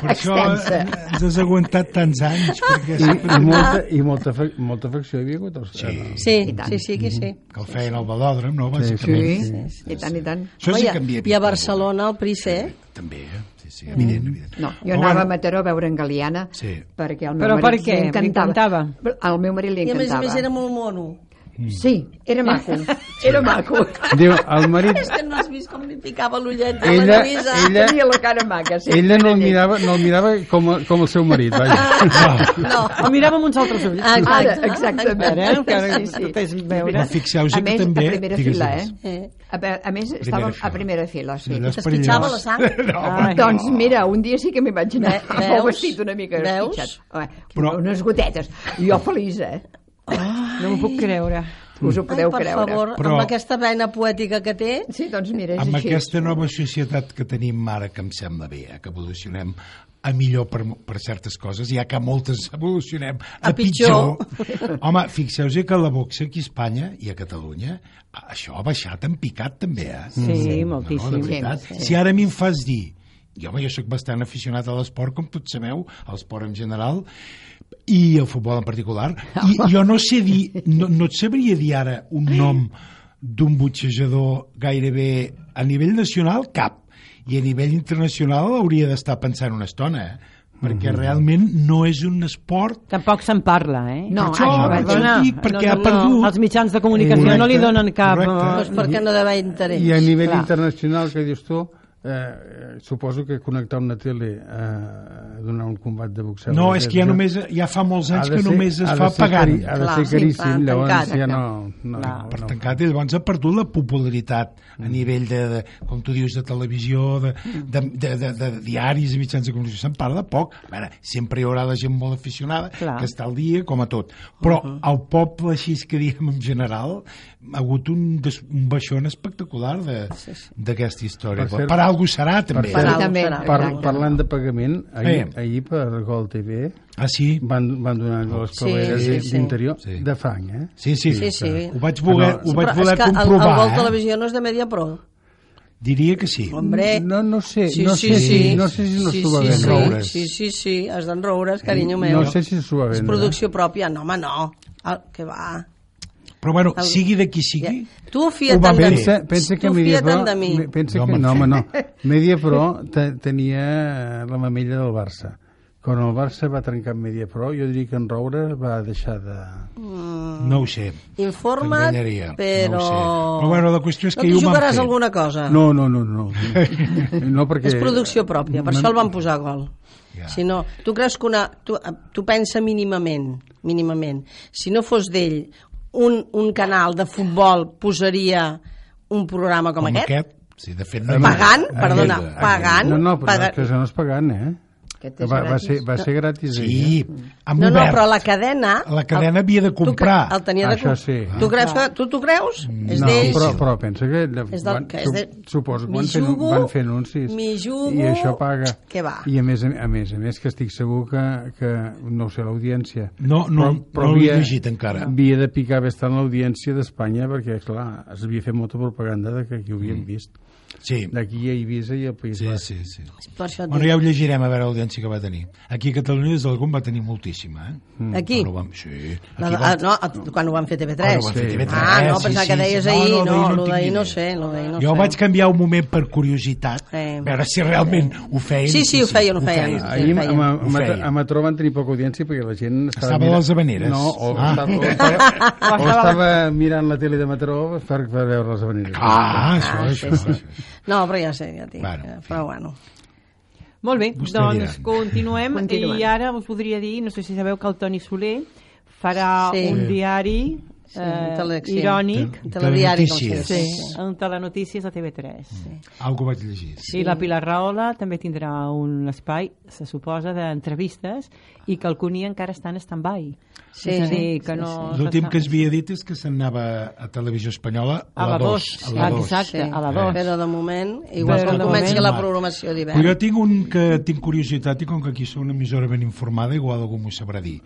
per això eh, extensa. ens has aguantat tants anys. Perquè I, sempre i, molta, i molta, fa, molta afecció hi havia hagut. Als, sí. Sí, sí, sí, aquí sí. que el feien al velòdrom, no? Bàsicament. Sí, i tant, i tant. Això sí que canvia. I a Barcelona, el Pricé, També, eh? sí, sí, evident, evident. No, jo Però anava a bueno, Mataró a veure en Galiana Sí. perquè el meu Però per marit què? li encantava. Li encantava. Al meu marit li i a més a encantava. més era molt mono. Sí, era maco. Era maco. Ah, Diu, el marit... És que no has vist com li picava l'ullet de la Ella, Lluïsa. ella, Tenia la cara maca, sí. ella no el mirava, no el mirava com, a- com el seu marit, vaja. No. Ho mirava amb uns altres ulls. Ah, Ara, Exacte. exactament. Ah, Ara, encara Sí, que sí. no t'és veure. Però fixeu-vos A que més, també... a primera digues, fila, digues. eh? Eh, A, pe- a més, estàvem fila. a primera fila, sí. Allò és Es pitjava perillós. la sang? <laughs> No, Ai. Doncs mira, un dia sí que m'hi vaig anar <laughs> Ve- amb el veus? vestit una mica Veus? espitxat. Home, Però- Però... Unes gotetes. Jo feliç, eh? No m'ho puc creure. Us ho podeu Ai, per creure. favor, Però- amb aquesta vena poètica que té, Sí, doncs mira, és amb així. aquesta nova societat que tenim ara, que em sembla bé, eh, que evolucionem a millor per, per certes coses, ja que moltes <laughs> evolucionem a, A pitjor. pitjor. Home, fixeu-vos que la boxa aquí a Espanya i a Catalunya, a- això ha baixat en picat també, eh? Sí, No, moltíssim. No, de veritat. Sí, Sí, Si ara a mi em fas dir, i home, jo sóc bastant aficionat a l'esport, com tots sabeu, a l'esport en general, i el futbol en particular, i jo no sé dir, no, no et sabria dir ara un nom d'un boxejador gairebé a nivell nacional, cap. I a nivell internacional hauria d'estar pensant una estona, eh? perquè realment no és un esport Tampoc se'n parla, eh? No, per això, això, per això perdona. dic, perquè No, no, ha no. perdut... Els mitjans de comunicació no li Correcte, donen cap... eh, correcte. doncs perquè no deu haver interès. I a nivell clar. internacional, que dius tu, eh, eh, suposo que connectar una tele eh, donar un combat de boxeu... No, és que ja, només, ja fa molts anys que només es fa pagant. Ha de Clar, ser sí, caríssim, clar, llavors tancat. ja no... no, Clar. per no, no. tancat i llavors ha perdut la popularitat Mm. a nivell de, de com tu dius, de televisió, de, de, de, de, de diaris i mitjans de comunicació. Se'n parla poc. A veure, sempre hi haurà la gent molt aficionada Clar. que està al dia, com a tot. Però Uh-huh. uh -huh. el poble, així que diem en general, ha hagut un, des, un baixón espectacular de- d'aquesta sí, sí. història. Per Per, cert- per algú serà, també. cert- eh? Serà, També, serà. Par, Exacte. parlant de pagament, ahir, Sí. ahir per Gol TV Ah, sí? van, van donar les Sí, claveres sí, sí, sí. d'interior Sí. de fang, eh? Sí, sí. Sí, sí. Ho vaig voler, Ah, ho vaig Però voler és que el- comprovar. El, Gol eh? Televisió no és de Mediapro. Diria que sí. Hombre, No, no sé, Eh, Sí, no, sí, sé sí. Si, no sé si no sí, s'ho va sí, vendre. vendre. Roures. sí, sí, sí, sí, es d'enroures, carinyo meu. No sé si eh? s'ho va És vendre. producció pròpia. No, home, no. El, que va. Però bueno, El- sigui de qui sigui... Ja. Tu fia Ho va tant de fer. mi. Pensa, pensa que tu fia Mediapro... tant de mi. me- Pensa No, que, home, no, no. home, no. Mediapro te- tenia eh, la mamella del Barça. Quan el Barça va trencar amb Mediapro, jo diria que en Roure va deixar de... No ho sé. Informa, T'enganyaria, però... no ho sé. Però bueno, la qüestió és que no ahir t'hi ho van jugaràs fer. alguna cosa. No, no, no, no. Ah. <laughs> no perquè... És producció pròpia, per això el van posar gol. Ja. Si no, tu creus que una... Tu, eh, tu pensa mínimament, mínimament. Si no fos d'ell, un, un canal de futbol posaria un programa com, Com aquest? aquest? Sí, de fet... Pagant, Aquest, perdona, aquest. pagant. No, no, però Paga- que això no és pagant, eh? Aquest és Va, va, gratis. ser, va ser gratis. Sí, ell, eh? amb No, no, obert. però la cadena... La cadena havia de tu cre- comprar. El tenia de Això com- sí. Tu creus que... Tu t'ho creus? És no, d'ells. però, però pensa que, de, És del- van, que és de- sup- suposo que M'hi van, fent, jugo, van fer anuncis m'hi jugo, i això paga que va. i a més a, a més, a més que estic segur que, que no ho sé l'audiència No, no, no l'he llegit encara. havia de picar bastant l'audiència d'Espanya perquè clar, es havia fet molta propaganda de que aquí ho havien vist Sí, d'aquí a Eivissa i al País Mm. sí, Basc sí. sí. Per això et Bueno, dic. ja ho llegirem a veure l'audiència que va tenir. Aquí a Catalunya des del GOM va tenir moltíssima, eh? Aquí? Quan ho vam... Sí. La, Aquí ah, vam... no, a- quan ho van fer TV3. Quan ho van fer TV3, Ah, no, sí, pensava sí, que deies sí. No, ahir. no, No, d'ahir lo no en d'ahir tinc no idea. sé. Lo d'ahir no jo sé. vaig canviar un moment per curiositat, Sí. a veure si realment ho feien. Sí, sí, ho feien, ho Ahir feien. a, a, Ho feien. a, a Matró van tenir poca audiència perquè la gent estava... Estava a mirant- les Havaneres. No, o, Ah. ah. <laughs> estava, o, estava, o estava mirant la tele de Matró per, per veure les Havaneres. Ah, això, això. això. No, però ja sé, ja tinc. Bueno, eh, en fi. però bueno. Molt bé, Vostè doncs dirà. continuem. Continuem. I ara us podria dir, no sé si sabeu que el Toni Soler farà Sí. un Sí. diari Sí, eh, tele- sí. irònic Te- Telediari, com Telenotícies. se sí, diu. en Telenotícies de TV3. Sí. Algo vaig llegir. Sí. I la Pilar Rahola també tindrà un espai, se suposa, d'entrevistes i que el Cuní encara està en stand-by. Sí, és a dir, sí, que no... L'últim que es havia dit és que se'n anava a Televisió Espanyola A la 2. A la dos. Exacte, a la 2. Però de moment, igual Però que de comenci moment- la programació Però jo d'hivern. tinc un que tinc curiositat i com que aquí sou una emissora ben informada, igual algú m'ho sabrà dir.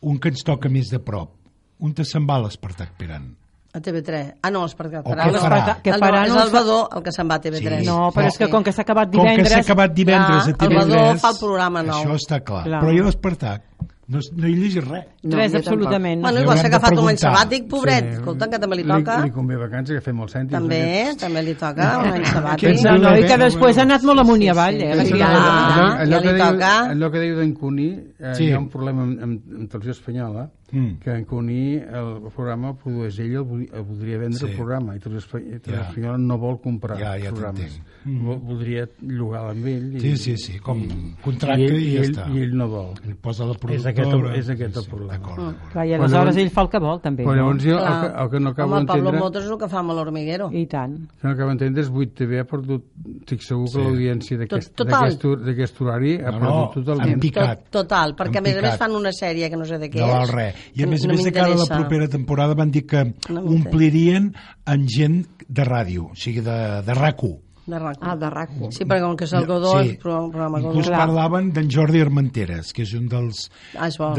Un que ens toca més de prop. Un te se'n va a l'Espartac Piran. A TV3 Ah, no, l'Espartac O Tarragona. què farà? Que Ah, no, farà, és no el sé- Badó el que se'n va a TV3. Sí. No, però és que com que s'ha acabat Com que divendres... s'ha acabat divendres Ja, a TV3... el Badó fa el programa nou. Això està clar. Clar. Però jo a l'Espartac no, no hi llegis res. No, Res, jo absolutament. no. Bueno, Li igual s'ha hauran de agafat un any preguntar. sabàtic, pobret. Escolta, que també li toca. Li, li convé vacances, que fem els cèntims. També, també li toca un any sabàtic. Pensa- No, no, i que Bueno, després ha anat molt amunt i avall, eh? sí, la sí. Pilar. Ah, allò, ja li que diu, toca. allò que diu d'en Cuní, eh, Sí. sí. hi ha un problema amb, amb, amb televisió espanyola, Mm. que en Cuní el programa produeix ell, el, vol- el voldria vendre Sí. sí. el programa i Teleespa- Ja. Telespanyola no vol comprar Ja, ja programes. t'entenc. Mm. Voldria llogar amb ell. Sí, sí, sí, com contracte ell, i ja ell, està. I ell no vol. Li posa la És productora... aquest el- és aquest el problema. D'acord, Mm. d'acord. Clar, I Però aleshores llavors- ell fa el que vol, també. Però llavors jo el Clar. que, el que no acabo Home, el Pablo d'entendre... Motos és el que fa amb l'Hormiguero. I tant. El que no acabo d'entendre és 8TV ha perdut... Estic segur que Sí. l'audiència d'aquest Tot- total. d'aquest hor- d'aquest horari ha No, no, perdut en totalment. pic. Picat. total, perquè a Han més a picat. més fan una sèrie que no sé de què No val és. res. I a més no a més, de cara a la m'interessa. propera temporada van dir No que m'interessa. omplirien amb gent de ràdio, o sigui, de, de RAC1. De RAC1. Ah, de rac Sí, perquè com que és el Godó, sí. és un programa Godó. Inclús parlaven d'en Jordi Armenteres, que és un dels... Ah, és bo.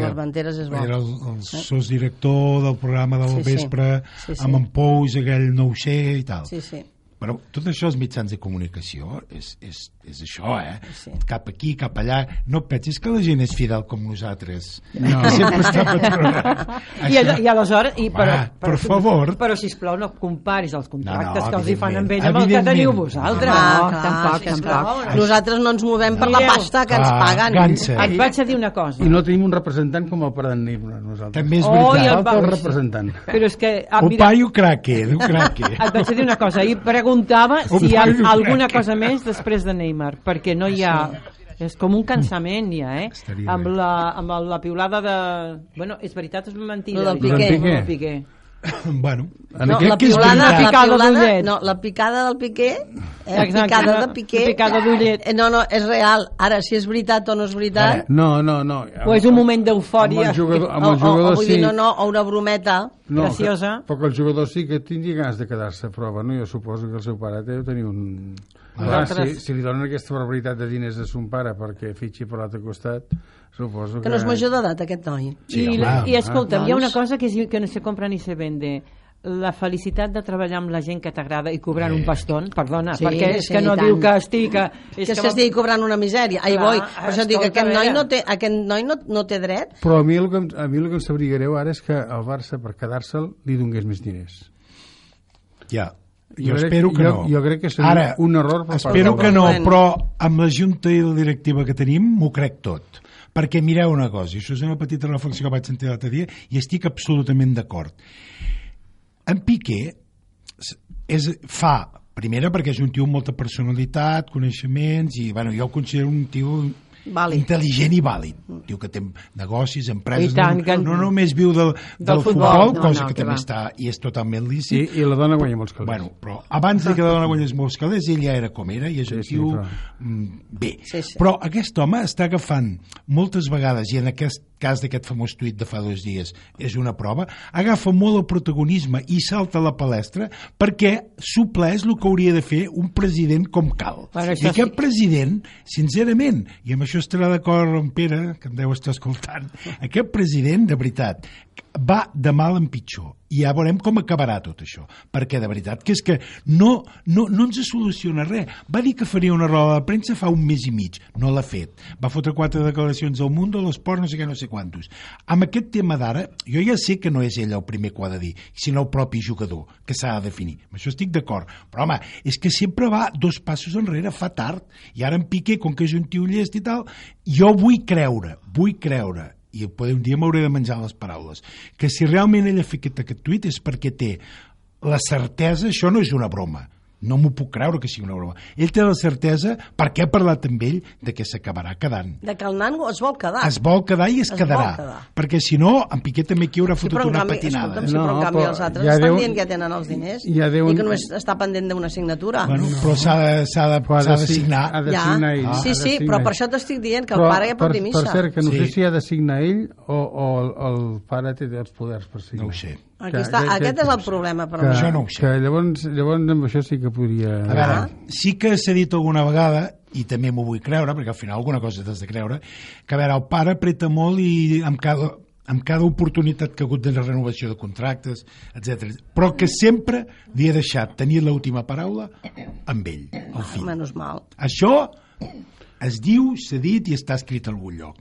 L'Armenteres és bo. Eh. Era el, el sos director del programa del Sí, sí, sí. vespre, Sí, sí. sí, sí. amb en Pous, aquell no ho sé i tal. Sí, sí. Però tot això els mitjans de comunicació és, és, és això, eh? Sí. Sí. Cap aquí, cap allà. No pensis que la gent és fidel com nosaltres. No. Que sempre està patronat. I, al- I aleshores... I, Home, Ah, per favor. Però, sisplau, no comparis els contractes No, no, que els hi fan amb ell amb el que evidentment. teniu Evidentment. vosaltres. Ah, No, clar, tampoc, sí, és que tampoc. Nosaltres no ens movem per la Mireu. pasta que ens Ah, paguen. gansa. Et vaig a dir una cosa. I no tenim un representant com el Paranibra, nosaltres. També és Oh, i veritat. el- Falta el Vamos. representant. Però és que... Ah, O mira, paio craque, diu craque. et vaig a dir una cosa. Ahir preguntava O si hi ha paio crac. alguna cosa més després de Neymar, perquè no hi ha... És com un cansament, ja, eh? Estaria Amb bé. la, amb la piolada de... Bueno, és veritat, és mentida. Lo del Lo Piqué. del Piqué. bueno, En No, aquest la que és piolada, veritat. la Picada piolada, d'ullet. no, la picada del Piqué, eh, Exacte. picada de Piqué, Picada d'ullet. Eh, No, no, és real. Ara, si és veritat o no és veritat, No, no, no. O és un moment Amb d'eufòria. el jugador, amb o, el o, o jugador vull sí. dir, no, no, o una brometa. No, Graciosa. Que, però que el jugador sí que tingui ganes de quedar-se a prova, no? Jo suposo que el seu pare deu tenir un... Ah, si, Nosaltres- si li donen aquesta barbaritat de diners a son pare perquè fitxi per l'altre costat, suposo que... Que no és major d'edat, aquest noi. Sí, I, home, I escolta, hi ha una Doncs- cosa que, és- que no se compra ni se vende la felicitat de treballar amb la gent que t'agrada i cobrant un paston, perdona, Sí, perquè és sí, que no i diu tant. que estic... Que, És que, que estigui cobrant una misèria. Ai, Clar, ah, boi, per això dic que escolta, aquest a noi, veure. no té, aquest noi no, no té dret. Però a mi, el que, em- a mi el que em sabria greu ara és que el Barça, per quedar-se'l, li dongués més diners. Ja. Jo Jo, crec- espero que jo- no. jo crec que seria Ara, un error per part Espero del que no, govern. però amb la Junta i la directiva que tenim m'ho crec tot. Perquè mireu una cosa, i això és una petita reflexió que vaig sentir l'altre dia i estic absolutament d'acord. En Piqué s- és, fa, primera perquè és un tio amb molta personalitat, coneixements, i bueno, jo el considero un tio Vàlid. intel·ligent i vàlid. Un tio que té negocis, I empreses, tant, no, que- no només viu del, del, Del futbol, futbol, no, cosa no, que, que també va. està i és totalment lícit, I, i la dona guanya molts calés. Bueno, però abans de que la dona guanyés molts calés, ell ja era com era i és un Sí, sí, tio clar. mm, bé. Sí, sí. Però aquest home està agafant moltes vegades, i en aquest cas d'aquest famós tuit de fa dos dies és una prova, agafa molt el protagonisme i salta a la palestra perquè supleix el que hauria de fer un president com cal. Bueno, I això aquest sí. president, sincerament, i amb això estarà d'acord en Pere, que em deu estar escoltant, aquest president, de veritat, va de mal en pitjor. I ja veurem com acabarà tot això. Perquè, de veritat, que és que no, no, no ens soluciona res. Va dir que faria una roda de premsa fa un mes i mig. No l'ha fet. Va fotre quatre declaracions al Mundo, a l'Esport, no sé què, no sé quantos. Amb aquest tema d'ara, jo ja sé que no és ell el primer que ho ha de dir, sinó el propi jugador, que s'ha de definir. Amb això estic d'acord. Però, home, és que sempre va dos passos enrere, fa tard. I ara en Piqué, com que és un tio llest i tal, jo vull creure, vull creure, i poder un dia m'hauré de menjar les paraules, que si realment ell ha fet aquest, aquest tuit és perquè té la certesa, això no és una broma, no m'ho puc creure que sigui una broma. Ell té la certesa perquè ha parlat amb ell de que s'acabarà quedant. De que el nano es vol quedar. Es vol quedar i es, Ah. Es quedarà. vol quedar. Perquè si no, en Piqué també aquí haurà Sí, fotut però en una canvi, patinada. escolta'm, sí, però eh? No, en canvi però els altres ja estan deu- dient que ja tenen els diners ja deu- i que només està pendent d'una signatura. Bueno, però s'ha de, s'ha de, Però ha s'ha de de sig- signar. ha de ja. signar ell. sí, Ha de sí, signar però ell. per això t'estic dient que el pare ja pot per, dir missa. per cert, que no sí. sé Sí. si ha de signar ell o, o, el, el pare té els poders per signar. No ho sé. Aquí està, aquest és el problema per que, mi. Això no ho sé. Que llavors, llavors amb això sí que podria... Ah, A veure, sí que s'ha dit alguna vegada, i també m'ho vull creure, perquè al final alguna cosa t'has de creure, que a veure, el pare apreta molt i amb cada, amb cada oportunitat que ha hagut de la renovació de contractes, etc. Però que sempre li ha deixat tenir l'última paraula amb ell, el fill. Menys mal. Això es diu, s'ha dit i està escrit a algun lloc.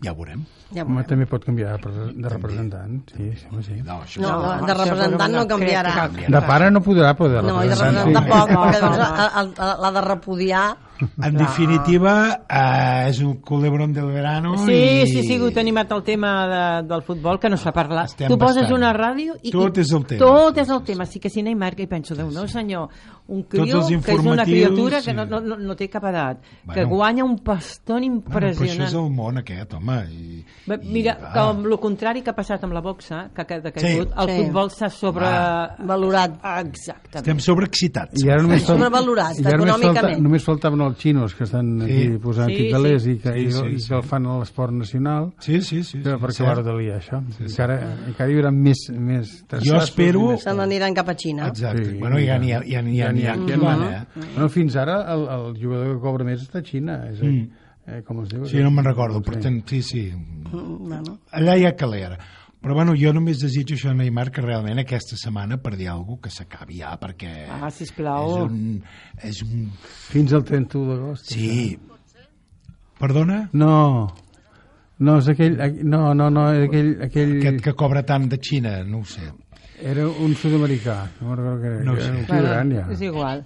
Ja ho veurem. Ja ho Home, veurem. també pot canviar de repre- de representant. Sí, sí, home, sí. No, això No, no. de representant no canviarà. De pare no podrà, però de No, i de representant representant sí. tampoc, perquè doncs l'ha de repudiar. En definitiva, eh, és un culebrón del verano. Sí, i... sí, sí, que ho tenim al tema de, del futbol, que no s'ha parlat. Estem tu poses bastant. una ràdio i... Tot i és el tema. Tot és el tema. Sí que si anem marca i penso, Déu, no senyor, un crió els que és una informatius, criatura que sí. no, no, no, no té cap edat, que Bueno. guanya un paston Bueno, però això impressionant. és el Ah. món aquest, home. I, Bé, i Mira, va. com el contrari que ha passat amb la boxa, que ha ca- ha caigut, el Sí. futbol s'ha sobre... Valorat. Exactament. Estem sobreexcitats. I ara només falta- Sobrevalorat, i ara només falta- econòmicament. Només faltaven els xinos que estan aquí Sí. posant Sí, aquí calés i que, sí. i, Sí, sí, i sí. que el fan a l'esport nacional. Sí, sí, sí. sí Però per cert. acabar de liar, això. Encara, encara hi haurà més... més Jo espero... Se n'aniran cap a Xina. Exacte. Sí, bueno, ja n'hi ha, ja n'hi ha, eh? ja n'hi ha, Mm. ja No, fins ara el, el jugador que cobra més és de Xina. És, mm. eh, com es diu? Sí, no me'n recordo, per tant, sí, sí, Mm, Bueno, allà hi ha calé ara. Però bueno, jo només desitjo això a Neymar que realment aquesta setmana per dir alguna cosa que s'acabi ja perquè Ah, sisplau. és un, és un... Fins al 31 d'agost. Sí. Perdona? No, no, és aquell... aqu- No, no, no, és aquell... aquell Aquest que cobra tant de Xina, no ho sé. Era un sud-americà. No me'n recordo que era. No ho era sé. un tio gran, ja. és igual.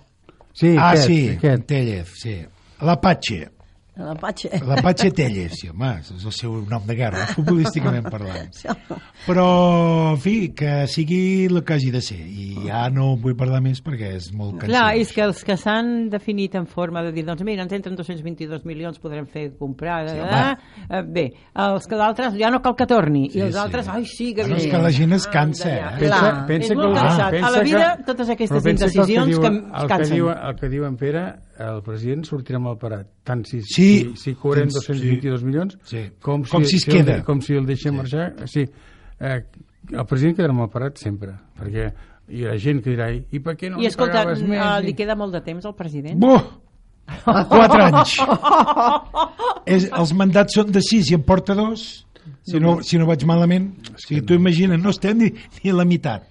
Sí, ah, aquest, sí, Aquest. Tellef, sí. L'Apache. la Patxe. L'Apache Tellef, sí, home, és el seu nom de guerra, futbolísticament <laughs> parlant. Sí, home. Però, en fi, que sigui el que hagi de ser. I ja no vull parlar més perquè és molt cansat. Clar, és que els que s'han definit en forma de dir, doncs mira, ens entren 222 milions, podrem fer comprar... Sí, eh? Eh, Bé, els que d'altres ja no cal que torni, Sí, i els sí. altres, ai sí, que Bueno, és bé. que la gent es Ah, cansa, ja, eh? ja. Clar. És molt cansat. A la vida, totes aquestes Ah, però pensa indecisions el que diuen- em el cansen. Que diu, el que diu en Pere, el president sortirà mal parat. Tant si, Sí. si, si cobrem Fins- 222 sí. milions, Sí. com, Com si es el- queda. com si el deixem sí. marxar. Sí. Eh, el president quedarà mal parat sempre, perquè hi ha gent que dirà i i per què no I li escolta, pagaves més? eh, I- li queda molt de temps al president? Buh! Quatre anys. És, els mandats són de sis i en porta dos, si no, si no vaig malament. O sigui, tu imagina, no estem ni, ni a la meitat.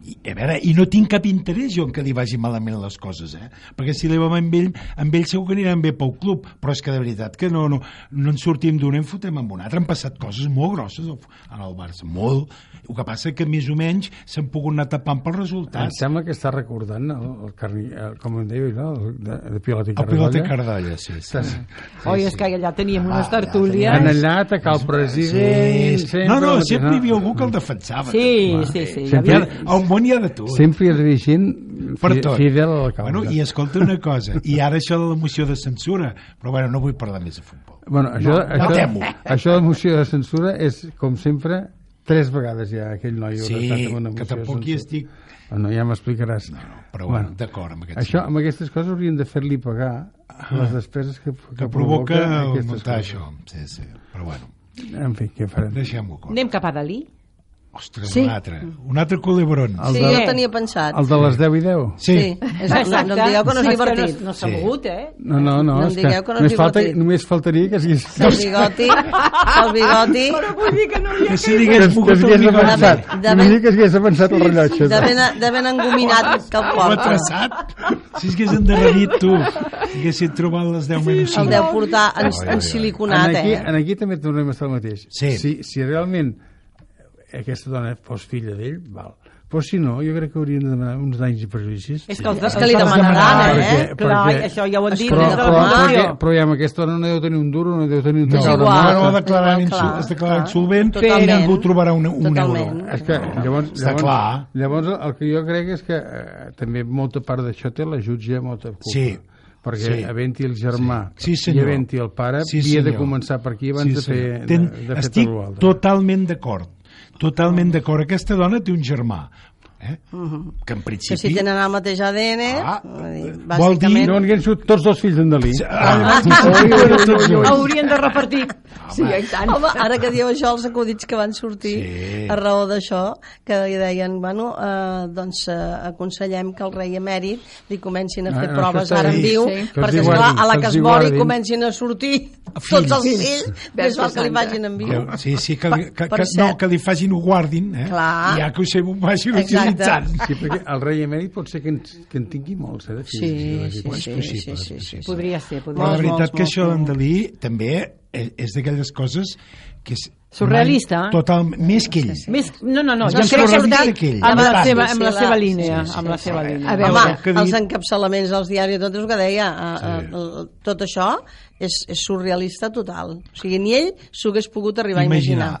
I, a veure, i no tinc cap interès jo en que li vagi malament les coses, eh? Perquè si li va amb ell, amb ell segur que aniran bé pel club, però és que de veritat que no, no, no en sortim d'un, en fotem amb un altre. Han passat coses molt grosses al, al Barça, molt. El que passa que més o menys s'han pogut anar tapant pels Em resultats. sembla que està recordant el, el, carni, el com en diu, no? el, de, de Pilot i El Carregolla. pilot de Cardolla, sí. sí. Ah, Oi, és que allà teníem unes Han tertúlies... allà a atacar el president. Sí, sempre no, no, el mateix, sempre hi havia no? algú que el defensava. Sí, sí, sí. hi Sempre- havia- A un món hi ha de tu. Sempre hi havia gent Per fi- tot. fidel a la causa. Bueno, I escolta una cosa, i ara això de la moció de censura, però bueno, no vull parlar més de futbol. Bueno, això, no, no això, temo. això de moció de censura és, com sempre, tres vegades ja aquell noi Sí, arrestat amb una que moció tampoc de hi censura. estic- Bueno, ja m'explicaràs. No, no, però bueno, d'acord amb aquest Això, sentit. amb aquestes coses haurien de fer-li pagar les despeses que, que, Ah. Que provoca el aquestes muntar coses. això. Sí, sí. Però bueno, En fi, què farem? deixem-ho cor. Anem cap a Dalí? Ostres, Sí. un altre. Un altre culebron. El Sí, de- jo tenia pensat. El de les 10 i 10? Sí. És, no, no em digueu que no és Sí, divertit. No, no s'ha Sí. mogut, eh? No, no, no, No em és que, digueu que no és només, falta, bigoti. només faltaria que sigués... El bigoti, el bigoti, Vull dir que no hi Que si Que, l'hagués que pogut s'hagués obligar. avançat. De- de- Només que s'hagués avançat el rellotge. de ben, de ben engominat que el Ho ha porta. traçat. Si hagués endarrerit tu, haguessin trobat les 10 menys El 5. deu portar en, Ai, ai, ai. en siliconat, aquí, eh? En aquí també tornem a estar el mateix. Sí. Si, si realment aquesta dona fos filla d'ell, val. Però si no, jo crec que haurien de demanar uns danys i prejudicis. És que, els, És que li els- demanaran, eh? Perquè, Clar, Perquè- i això ja ho han dit Però, des de però, la però, Mario. que- però ja amb aquesta dona no deu tenir un duro, no deu tenir un No, teu igual. de no, no ha mort. declarat, Clar, insu- clar, es declarat clar. insolvent i Totalment. ningú trobarà un, un Totalment. euro. És que llavors, Està llavors, clar. llavors el que jo crec és que eh, també molta part d'això té la jutge molta culpa. Sí. Perquè Sí. havent-hi el germà Sí, i senyor. havent-hi el pare, Sí, havia de senyor. començar per aquí abans de fer, senyor. de, Ten, de fer estic tot l'altre. totalment d'acord. Totalment d'acord. Aquesta dona té un germà, eh? que en Que principi... si Mhm. tenen el mateix ADN, Ah, vull dir, vol dir- No bàsicament... en hagués sigut tots dos fills d'en Dalí. Ah, Haurien de repartir. Sí, i tant. Home, ara que dieu això, els acudits que van sortir Sí. a raó d'això, que li deien, bueno, eh, doncs eh, aconsellem que el rei emèrit li comencin a No, fer Ah, no, proves això ara en sí. viu, Sí. Que els hi perquè, esclar, guardin, a la que que els es hi mori guardin. comencin a sortir tots els fills, més val que li vagin en viu. Que, sí, sí, que, li- que, Per- per que, no, cert. que li facin ho guardin, eh? Clar. I ja que ho sé, ho vagin Exacte. utilitzant. Sí, perquè el rei emèrit pot ser que en, que en tingui molts, eh, de fills. Sí, i de sí, filles. sí, possible, sí, és sí, sí, sí. possible. Podria ser, podria Però la Molts, veritat molts, que això molts, d'en Dalí també és, és d'aquelles coses que és Surrealista. eh? mai Total, més que ell. Sí, Més, no, no, no, És jo més crec que surrealista amb, que ell. amb, la Bastant. seva, amb la Sí, seva sí, línia. sí, amb la sí, seva sí. línia. A veure, Home, que els dit- encapçalaments dels diaris, tot és el que deia, a, Sí. a, a, tot això és, és surrealista total. O sigui, ni ell s'ho hagués pogut arribar Imaginar.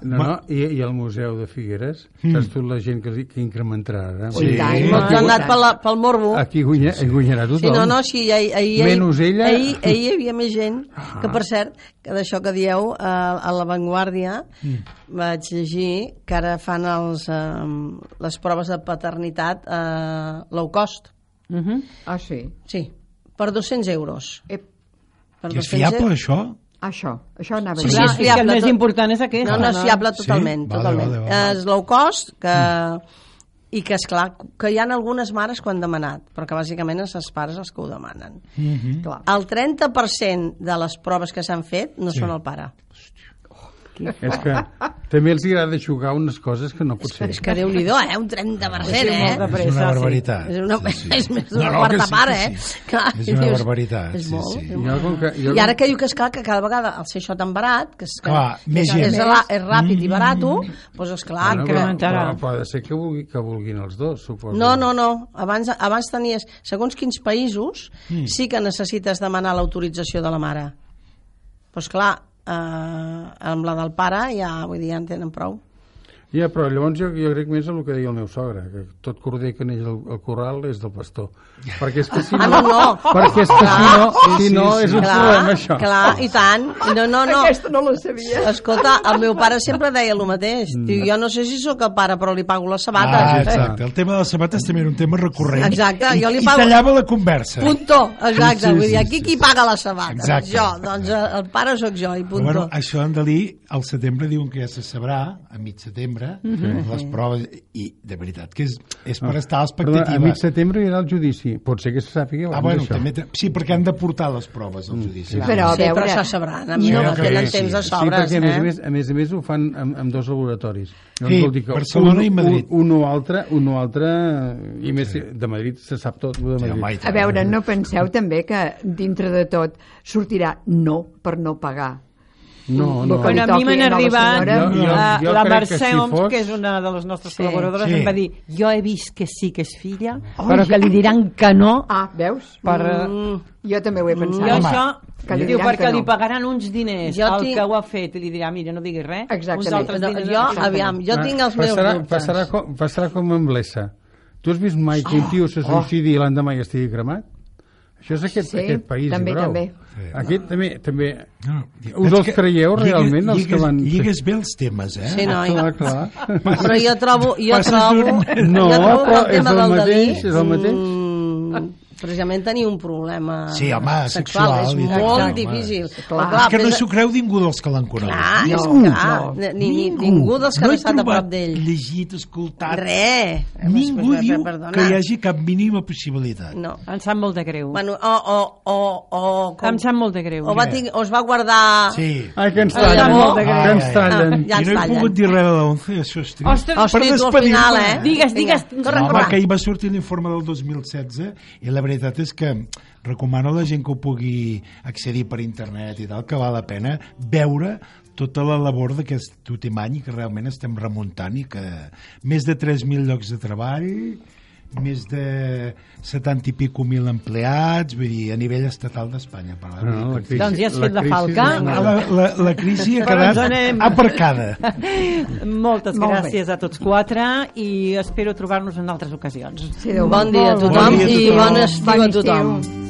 a imaginar. No, no, i, i el Museu de Figueres, mm. saps tu la gent que, que incrementarà. Eh? Sí. tant, Sí. No, molt han tant. anat pel, pel morbo. Aquí guanya, sí. guanyarà tothom. Sí, doncs. no, no, sí, ahir, ahir, Menys ella. ahir, ahir hi havia més gent, que Ah. per cert, que d'això que dieu, eh, a La Vanguardia mm. vaig llegir que ara fan els, eh, les proves de paternitat eh, low cost, Uh -huh. Ah, sí. sí, per 200 euros. Ep, Per I és 200 fiable, això? això, això anava Sí, a Clar, dir. és és que el fiable més tot. important és aquest. No, no, és fiable eh? Sí? totalment, Vale, totalment. vale, vale. Mm. És low cost, que... I que, és clar que hi ha algunes mares que ho han demanat, però que bàsicament és els pares els que ho demanen. Mm -hmm. Clar, El 30% de les proves que s'han fet no són el pare. És que també els agrada jugar unes coses que no pot ser. És que Déu-n'hi-do, eh? Un 30%, molt eh? de És pressa. una sí. barbaritat. És, una, <laughs> és més d'una No, no, que quarta sí, part, que eh? sí. <laughs> Clar, És una dius, barbaritat, És sí, molt, sí. és molt. Jo, com que, jo, I ara que diu que és clar que cada vegada al ser això tan barat, que és, que Clar, més és, gent. és, ra- és ràpid i barat, doncs és clar Bueno, que... però, incrementarà. però Pot ser que, vulgui, que vulguin els dos, suposo. No, no, no. Abans, abans tenies... Segons quins països mm. sí que necessites demanar l'autorització de la mare. Doncs clar, eh, amb la del pare ja, vull dir, ja en tenen prou. Ja, però llavors jo, jo crec més el que deia el meu sogre, que tot corder que neix al, al corral és del pastor. Perquè és que si <laughs> Ah, no... no, no. Perquè és que si Clar. no, si no és un problema, això. clar, i tant. No, no, no. Aquesta no la sabia. Escolta, el meu pare sempre deia el mateix. Diu, jo no sé si sóc el pare, però li pago les sabates. Ah, eh? exacte. El tema de les sabates també era un tema recurrent. Exacte, I, jo li i pago- tallava la conversa. Punto, exacte. Sí, sí, vull dir, sí, aquí sí, qui sí. paga les sabates? Exacte. Jo, doncs eh, el pare sóc jo, i Però punto. bueno, això en Dalí, al setembre diuen que ja se sabrà, a mig setembre, Mhm. les proves, i de veritat que és, és per estar a Perdona, l'expectativa. a mig setembre hi haurà el judici. Pot ser que se sàpiga abans Ah, bueno, d'això. també... te- Sí, perquè han de portar les proves Mm, al judici. Però a Sí, però veure, se sabran, amic, No, no, que tenen sí. temps de Sí, Sí, sobres, perquè a més, a eh? més, a més a més ho fan amb, amb dos laboratoris. Sí, vol dir que Barcelona un, i Madrid. Un, un o altre, un o altre, i més sí. de Madrid se sap tot. lo De Sí, Madrid. home, i a tant. veure, no penseu també que dintre de tot sortirà no per no pagar. no, no. Lo que Bueno, a mi toqui m'han a la arribat senyora. Jo- jo- la, jo la crec que Mercè si Oms, fos- que és una de les nostres Sí. col·laboradores, Sí. em va dir jo he vist que sí que és filla, Oh, però que ja. li diran que no Ah, veus? per... Jo també ho he pensat. Jo Home, això, que li diu, diran perquè que no. li pagaran uns diners Jo al tinc- que ho ha fet, i li dirà, mira, no diguis res, uns Exactament. altres No, diners... jo, aviam, jo Ah, tinc els meus passarà, dubtes. Passarà com, passarà com amb l'ESA. Tu has vist mai que un tio se suïcidi i l'endemà ja estigui cremat? Això és aquest, Sí, aquest país, també, brau. també. Sí. Aquest també, també... No, Us veig els que creieu lligues- realment, els que lligues- van- Lligues bé els temes, eh? Sí, no, Clar, i- clar. <laughs> Però jo trobo, jo Passes trobo, d'un- No, jo trobo que però el tema és el del Dalí... mateix, és el mateix. mm, precisament tenir un problema Sí, home, sexual, sexual, i és tant, molt home. difícil. Sí, Però És que no pensa- s'ho creu ningú dels que l'han conegut. Clar, és No, clar, ni, ni, ningú dels que han he estat a trobat, prop d'ell. llegit, escoltat... Res. Ningú Per- per- diu perdona. que hi hagi cap mínima possibilitat. No. Em sap molt de greu. Bueno, o, o, o, o, Em sap molt de greu. o, va tinc, o es va guardar... Sí. Ai, que ens Ai, tallen, amor. que ens tallen. ja I ens no he tallen. pogut dir res de l'11, això estic... Ostres, Hosti, tu al despedir-me. final, eh? Digues, Vinga, digues. Corre, no, corre. perquè hi va sortir l'informe del 2016 i la veritat és que recomano a la gent que ho pugui accedir per internet i tal, que val la pena veure tota la labor d'aquest últim any que realment estem remuntant i que més de 3.000 llocs de treball més de 70 i pico mil empleats, vull dir, a nivell estatal d'Espanya. per la No, la veritat. crisi- Doncs ja has fet la crisi falca. és una- La, la, la crisi ha Però ens anem. quedat aparcada. Moltes Molt bé. gràcies a tots quatre i espero trobar-nos en altres ocasions. Sí, Déu, Bon dia a molt tothom Bon dia a i tothom. bon estiu a Bon tothom. estiu.